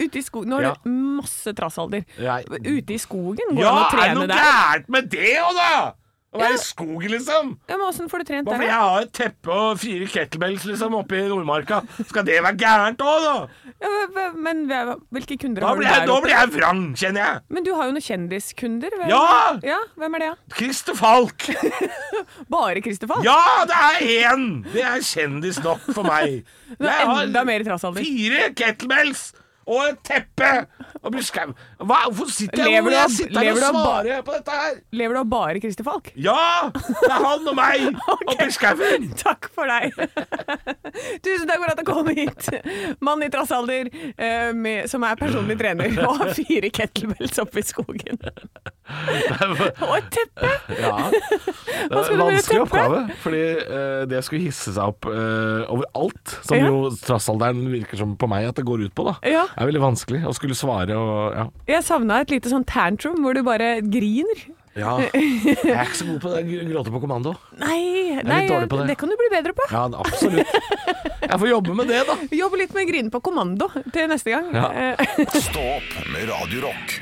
Speaker 4: Ute i skogen. Nå har
Speaker 3: Ja.
Speaker 4: du masse trassalder.
Speaker 3: Jeg,
Speaker 4: Ute i skogen går det an å trene der.
Speaker 3: gærent med det òg, da?! Å
Speaker 4: Ja.
Speaker 3: i skogen, liksom!
Speaker 4: Ja, men åssen får du trent
Speaker 3: Bare
Speaker 4: der?
Speaker 3: fordi
Speaker 4: da?
Speaker 3: har et teppe og fire kettlebells liksom oppe i Nordmarka, skal det være gærent òg, da?!
Speaker 4: Ja, hva- hva- men hva- hvilke kunder har du der? oppe?
Speaker 3: jeg vrang, kjenner jeg!
Speaker 4: Men du har jo noen kjendiskunder. Hvem?
Speaker 3: Ja!
Speaker 4: ja! Hvem er det? da?
Speaker 3: Christer Falk!
Speaker 4: Bare Kristoffer?
Speaker 3: Ja, det er én! Det er kjendis nok for meg.
Speaker 4: er enda mer i trassalder.
Speaker 3: Fire kettlebells og et teppe og blir skau. Hva- Hvorfor sitter jeg
Speaker 4: Lever
Speaker 3: hvor
Speaker 4: du av-
Speaker 3: jeg sitter her
Speaker 4: lever
Speaker 3: og
Speaker 4: du av ba-
Speaker 3: svarer på dette her?
Speaker 4: Lever du av bare Christer Falk?
Speaker 3: Ja! Det er han og meg oppi skauen.
Speaker 4: Takk for deg. Tusen takk for at du kom hit. Mann i trass alder eh, med- som er personlig trener og har fire kettlebells oppe i skogen. Og et teppe!
Speaker 3: Ja. Det
Speaker 4: Hva
Speaker 3: var
Speaker 4: skal
Speaker 3: en
Speaker 4: du med
Speaker 3: vanskelig
Speaker 4: teppet?
Speaker 3: oppgave, fordi eh, det skulle hisse seg opp eh, over alt, som
Speaker 4: Ja.
Speaker 3: jo trassalderen virker som på meg at det går ut på, da.
Speaker 4: Ja.
Speaker 3: Det er veldig vanskelig å skulle svare og ja.
Speaker 4: Jeg savna et lite sånn tantrum hvor du bare griner.
Speaker 3: ja. Jeg er ikke så god på det, gr- gråte på kommando.
Speaker 4: Nei,
Speaker 3: litt
Speaker 4: nei
Speaker 3: dårlig på det.
Speaker 4: det kan du bli bedre på.
Speaker 3: Ja, absolutt. Jeg får jobbe med det, da.
Speaker 4: Jobb litt med grine på kommando til neste gang.
Speaker 3: Ja.
Speaker 4: Eh,
Speaker 2: Stå opp med Radio Rock.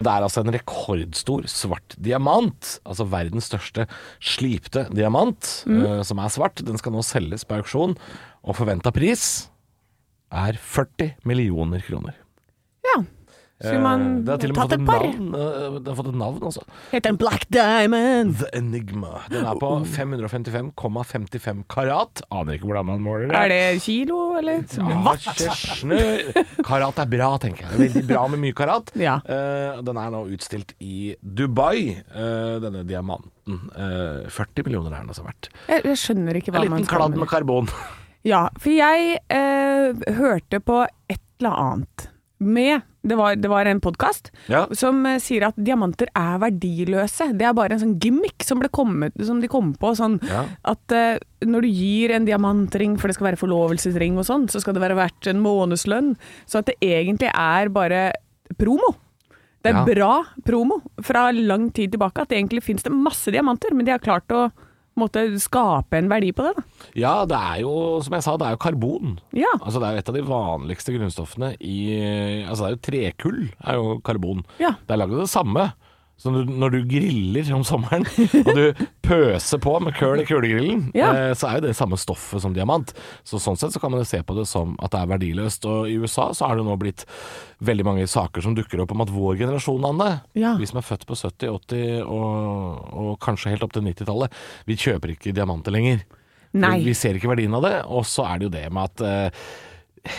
Speaker 3: Det er altså en rekordstor svart diamant, altså verdens største slipte diamant,
Speaker 4: Mm.
Speaker 3: eh, som er svart. Den skal nå selges på auksjon, og forventa pris er 40 millioner kroner.
Speaker 4: ja. Skulle man
Speaker 3: Eh, det har til og med
Speaker 4: tatt
Speaker 3: fått
Speaker 4: et
Speaker 3: et
Speaker 4: par?
Speaker 3: navn. eh, Det har fått et navn også.
Speaker 4: Het den Black Diamond?
Speaker 3: The Enigma. Den er
Speaker 4: Oh.
Speaker 3: på 555,55 karat. Aner ikke hvordan man måler
Speaker 4: Er det kilo, eller?
Speaker 3: Ja, kjørsnør. Karat er bra, tenker jeg. Det er Veldig bra med mye karat.
Speaker 4: Ja.
Speaker 3: Eh, den er nå utstilt i Dubai, eh, denne diamanten. Eh, 40 millioner er den altså verdt.
Speaker 4: Jeg, jeg skjønner ikke hva
Speaker 3: En
Speaker 4: man
Speaker 3: liten
Speaker 4: skal
Speaker 3: kladd med
Speaker 4: med.
Speaker 3: karbon.
Speaker 4: Ja, for jeg eh, hørte på et eller annet med Det var, det var en podkast
Speaker 3: Ja.
Speaker 4: som eh, sier at diamanter er verdiløse. Det er bare en sånn gimmick som, ble kommet, som de kom på. Sånn
Speaker 3: Ja.
Speaker 4: at eh, når du gir en diamantring, for det skal være forlovelsesring og sånn, så skal det være verdt en månedslønn. Så at det egentlig er bare promo. Det er
Speaker 3: Ja.
Speaker 4: bra promo fra lang tid tilbake. At egentlig finnes det masse diamanter, men de har klart å måtte skape en verdi på det. Da.
Speaker 3: Ja, det er jo, som jeg sa, det er jo karbon.
Speaker 4: Ja.
Speaker 3: Altså, det er jo et av de vanligste grunnstoffene i Altså, det er jo trekull, er jo karbon.
Speaker 4: Ja.
Speaker 3: Det er lagd av det samme. Så når du, når du griller om sommeren, og du pøser på med køl i kulegrillen,
Speaker 4: Ja.
Speaker 3: eh, så er jo det samme stoffet som diamant. Så sånn sett så kan man jo se på det som at det er verdiløst. Og i USA så har det nå blitt veldig mange saker som dukker opp om at vår generasjon, Anne,
Speaker 4: Ja.
Speaker 3: vi som er født på 70-, 80- og, og kanskje helt opp til 90-tallet, vi kjøper ikke diamanter lenger.
Speaker 4: Nei.
Speaker 3: Vi ser ikke verdien av det, og så er det jo det med at eh,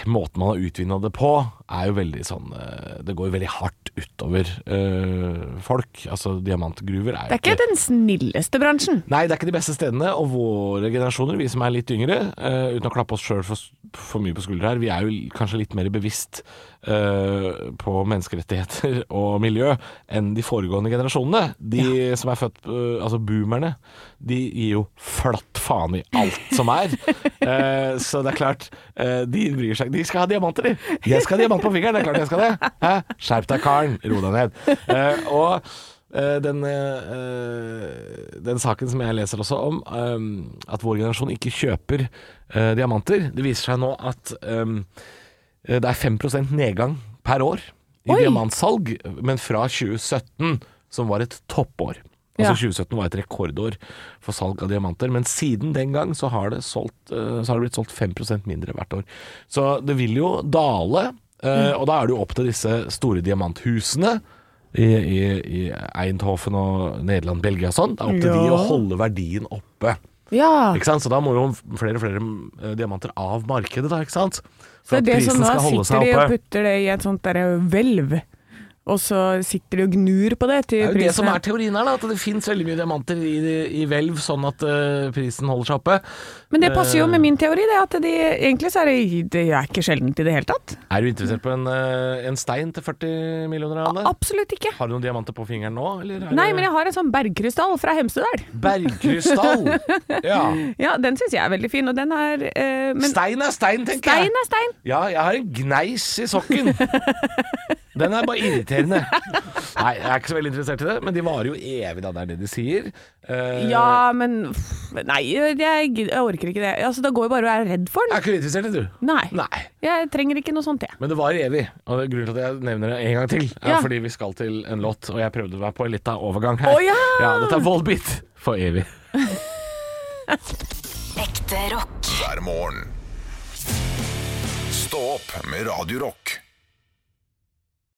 Speaker 3: måten man har utvinna det på, er jo veldig sånn eh, Det går jo veldig hardt utover eh, folk. Altså, diamantgruver er
Speaker 4: Det
Speaker 3: jo
Speaker 4: er ikke den snilleste bransjen.
Speaker 3: Nei, det er ikke de beste stedene, og våre generasjoner, vi som er litt yngre, eh, uten å klappe oss sjøl for, for mye på skuldra her, vi er jo kanskje litt mer bevisst eh, på menneskerettigheter og miljø enn de foregående generasjonene. De som er født eh, Altså boomerne, de gir jo flatt faen i alt som er. Eh, så det er klart, eh, de bryr seg De skal ha diamanter, de! Jeg skal ha diamant på fingeren, det er klart jeg skal det! Hæ? Skjerp deg, karen! Ro deg ned. Eh, og Eh, den, eh, den saken som jeg leser også om, eh, at vår generasjon ikke kjøper eh, diamanter Det viser seg nå at eh, det er 5 nedgang per år i
Speaker 4: Oi!
Speaker 3: diamantsalg, men fra 2017, som var et toppår.
Speaker 4: Ja.
Speaker 3: Altså 2017 var et rekordår for salg av diamanter, men siden den gang så har det, solgt, eh, så har det blitt solgt 5 mindre hvert år. Så det vil jo dale,
Speaker 4: Mm.
Speaker 3: eh, og da er det jo opp til disse store diamanthusene i, i, i Eindhoven og Nederland, Belgia og sånn. Det er opp til de å holde verdien oppe.
Speaker 4: Ja.
Speaker 3: Ikke sant? Så da må jo flere og flere eh, diamanter av markedet, da, ikke sant? For
Speaker 4: Så
Speaker 3: at
Speaker 4: det som
Speaker 3: prisen
Speaker 4: da
Speaker 3: skal holde
Speaker 4: sitter
Speaker 3: seg
Speaker 4: de og
Speaker 3: oppe.
Speaker 4: putter det i et sånt derre hvelv, og så sitter de og gnur på det
Speaker 3: Det
Speaker 4: til
Speaker 3: er jo det som
Speaker 4: prisen
Speaker 3: er teorien her, da, at det fins veldig mye diamanter i, i hvelv sånn at eh, prisen holder seg oppe.
Speaker 4: Men det passer jo
Speaker 3: Eh.
Speaker 4: med min teori, det. At de egentlig så er det, det er ikke sjeldent i det hele tatt.
Speaker 3: Er du interessert på en, eh, en stein til 40 millioner, Anne?
Speaker 4: Absolutt ikke.
Speaker 3: Har du noen diamanter på fingeren nå? Eller er
Speaker 4: Nei,
Speaker 3: det-
Speaker 4: men jeg har en sånn bergkrystall fra Hemsedal.
Speaker 3: Bergkrystall! ja.
Speaker 4: Ja, den syns jeg er veldig fin, og den er eh, Men
Speaker 3: Stein er stein, tenker jeg.
Speaker 4: stein er stein.
Speaker 3: Ja, jeg har en gneis i sokken. Den er bare irriterende. Nei, jeg er ikke så veldig interessert i det, men de varer jo evig, da. Det er det de sier. Eh,
Speaker 4: Ja, men pff, Nei, jeg, jeg orker ikke det. Altså, da går jeg bare og er redd for
Speaker 3: Jeg
Speaker 4: den.
Speaker 3: er ikke interessert i det, du.
Speaker 4: Nei.
Speaker 3: Nei.
Speaker 4: Jeg trenger ikke noe sånt, jeg.
Speaker 3: Men det var evig, og det er grunnen til at jeg nevner det en gang til, er
Speaker 4: Ja.
Speaker 3: fordi vi skal til en låt, og jeg prøvde meg på litt av overgang her.
Speaker 4: Å, ja!
Speaker 3: Dette er Volbeat for evig.
Speaker 1: Ekte rock.
Speaker 2: hver morgen. Stå opp med Radio Rock.